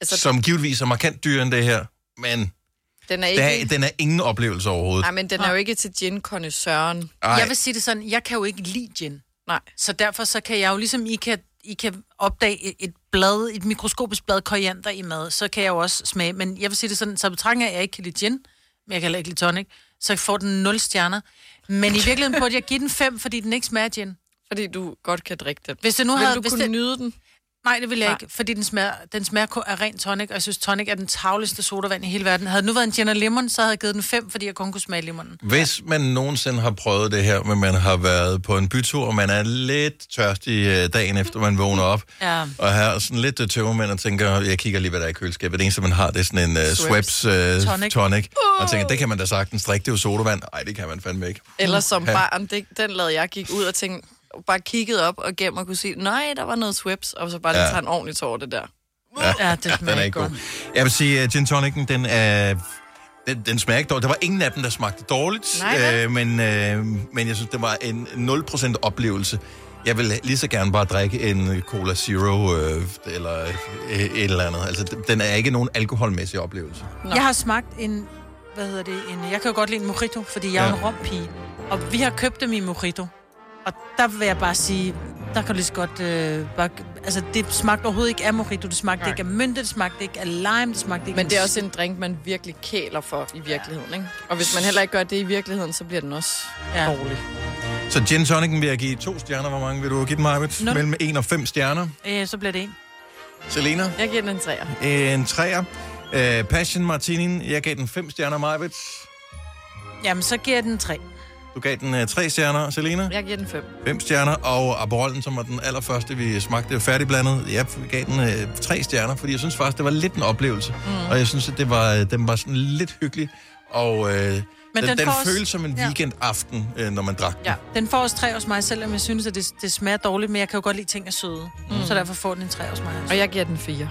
S1: altså, som givetvis er markant dyrere end det her, men
S4: Den er ikke...
S1: der, er- den er ingen oplevelse overhovedet.
S4: Nej, men den er jo ikke til gin connoisseuren.
S1: Ej.
S5: Jeg vil sige det sådan, jeg kan jo ikke lide gin.
S4: Nej.
S5: Så derfor så kan jeg jo, ligesom I kan, I kan opdage et- et blad, et mikroskopisk blad koriander i mad, så kan jeg jo også smage. Men jeg vil sige det sådan, så betragtning af, at jeg ikke kan lide gin, men jeg kan heller ikke lide tonic, så får den 0 stjerner. Men i virkeligheden burde jeg give den 5, fordi den ikke smager af gin.
S4: Fordi du godt kan drikke den.
S5: Hvis det nu
S4: Vil
S5: havde,
S4: du
S5: hvis
S4: kunne
S5: det...
S4: nyde den?
S5: Nej, det vil jeg
S4: Nej.
S5: Nej. ikke, fordi den smager, den smager kun af ren tonic, og jeg synes, tonic er den tavligste sodavand i hele verden. Havde det nu været en gin og lemon, så havde jeg givet den 5, fordi jeg kun kunne smage limonen.
S1: Hvis man nogensinde har prøvet det her, men man har været på en bytur, og man er lidt tørstig øh, dagen efter, man vågner op,
S5: Ja.
S1: og har sådan lidt øh, tømmermænd og tænker, jeg kigger lige, hvad der er i køleskabet. Det eneste, man har, det er sådan en uh,
S4: Schweppes.
S1: Schweppes uh,
S4: Tonic. Uh.
S1: tonic, tonic og tænker, det kan man da sagtens drikke, det er jo sodavand. Nej, det kan man fandme ikke.
S4: Eller som
S1: Ja.
S4: barn, det, den lavede jeg, gik ud og tænkte, bare kiggede op og gennem og kunne sige, nej, der var noget sweps, og så bare lige
S1: Ja.
S4: tager en ordentlig tår det der.
S5: Ja, det
S1: den er ikke god. Jeg vil sige, at gin tonicen, den er... Den, den smager ikke dårligt. Der var ingen af dem, der smagte dårligt,
S4: Nej, vel?
S1: øh, men, øh, men jeg synes, det var en 0% oplevelse. Jeg vil lige så gerne bare drikke en Cola Zero øh, eller øh, et eller andet. Altså, den- den er ikke nogen alkoholmæssig oplevelse.
S5: Nå. Jeg har smagt en, hvad hedder det, en, jeg kan jo godt lide en mojito, fordi jeg er ja. en
S1: Ja.
S5: rompige. Og vi har købt dem i mojito. Og der vil jeg bare sige, der kan du lige så godt, øh, bare, altså det smagte overhovedet ikke af mojito, det smagte Nej.
S4: Nej.
S5: ikke af mynte, det smagte ikke af lime, det smagte ikke
S4: Men
S5: af
S4: det er også en drink, man virkelig kæler for i virkeligheden, ikke? Og hvis man heller ikke gør det i virkeligheden, så bliver den også ja. dårlig.
S1: Så gin tonicen vil jeg give to stjerner. Hvor mange vil du give den, Marvitt?
S4: Nul.
S1: Mellem en og fem stjerner.
S5: Øh, så bliver det en.
S1: Selena?
S4: Jeg giver den en træer.
S1: En træer. Øh, Passion Martinin, jeg gav den fem stjerner, Marvitt.
S5: Jamen, så giver jeg den tre.
S1: Du gav den øh, tre stjerner, Selena.
S4: Jeg giver den fem.
S1: Fem stjerner, og Aperollen, som var den allerførste, vi smagte færdigblandet, jeg gav den øh, tre stjerner, fordi jeg synes faktisk, det var lidt en oplevelse.
S5: Mm.
S1: Mm. Og jeg synes, at det var, den var sådan lidt hyggelig, og øh, den,
S5: den
S1: den, den
S5: får også-
S1: føles som en
S5: Ja.
S1: weekendaften, øh, når man drak den.
S5: Ja. Den får også tre hos mig, selvom jeg synes, at det, det smager dårligt, men jeg kan jo godt lide ting er søde. Mm. Så derfor får den en tre hos mig. altså.
S4: Og jeg giver den fire.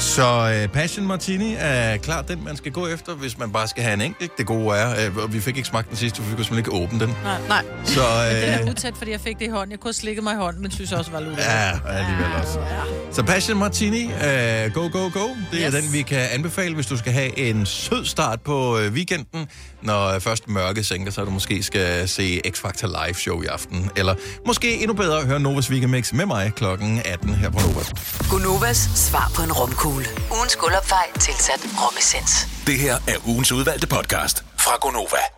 S1: Så øh, Passion Martini er klart den, man skal gå efter, hvis man bare skal have en enkelt. Det gode er, øh, og vi fik ikke smagt den sidste, for vi kunne simpelthen ikke åbne den.
S5: Nej, nej.
S1: Så,
S5: Men den
S1: øh,
S5: er utæt, fordi jeg fik det i hånden. Jeg kunne slikke mig i hånden, men synes også, det var lidt
S1: Ja, alligevel også. Så Passion Martini, øh, go, go, go. Det er den, vi kan anbefale, hvis du skal have en sød start på øh, weekenden. Når øh, først mørket sænker sig, og du måske skal se X-Factor Live Show i aften. Eller måske endnu bedre høre Novas Weekendmix med mig kl. 18 her på Nova.
S16: Gonovas svar på en romkugle. Ugens guldopfej tilsat romessens.
S11: Det her er ugens udvalgte podcast fra Gonova.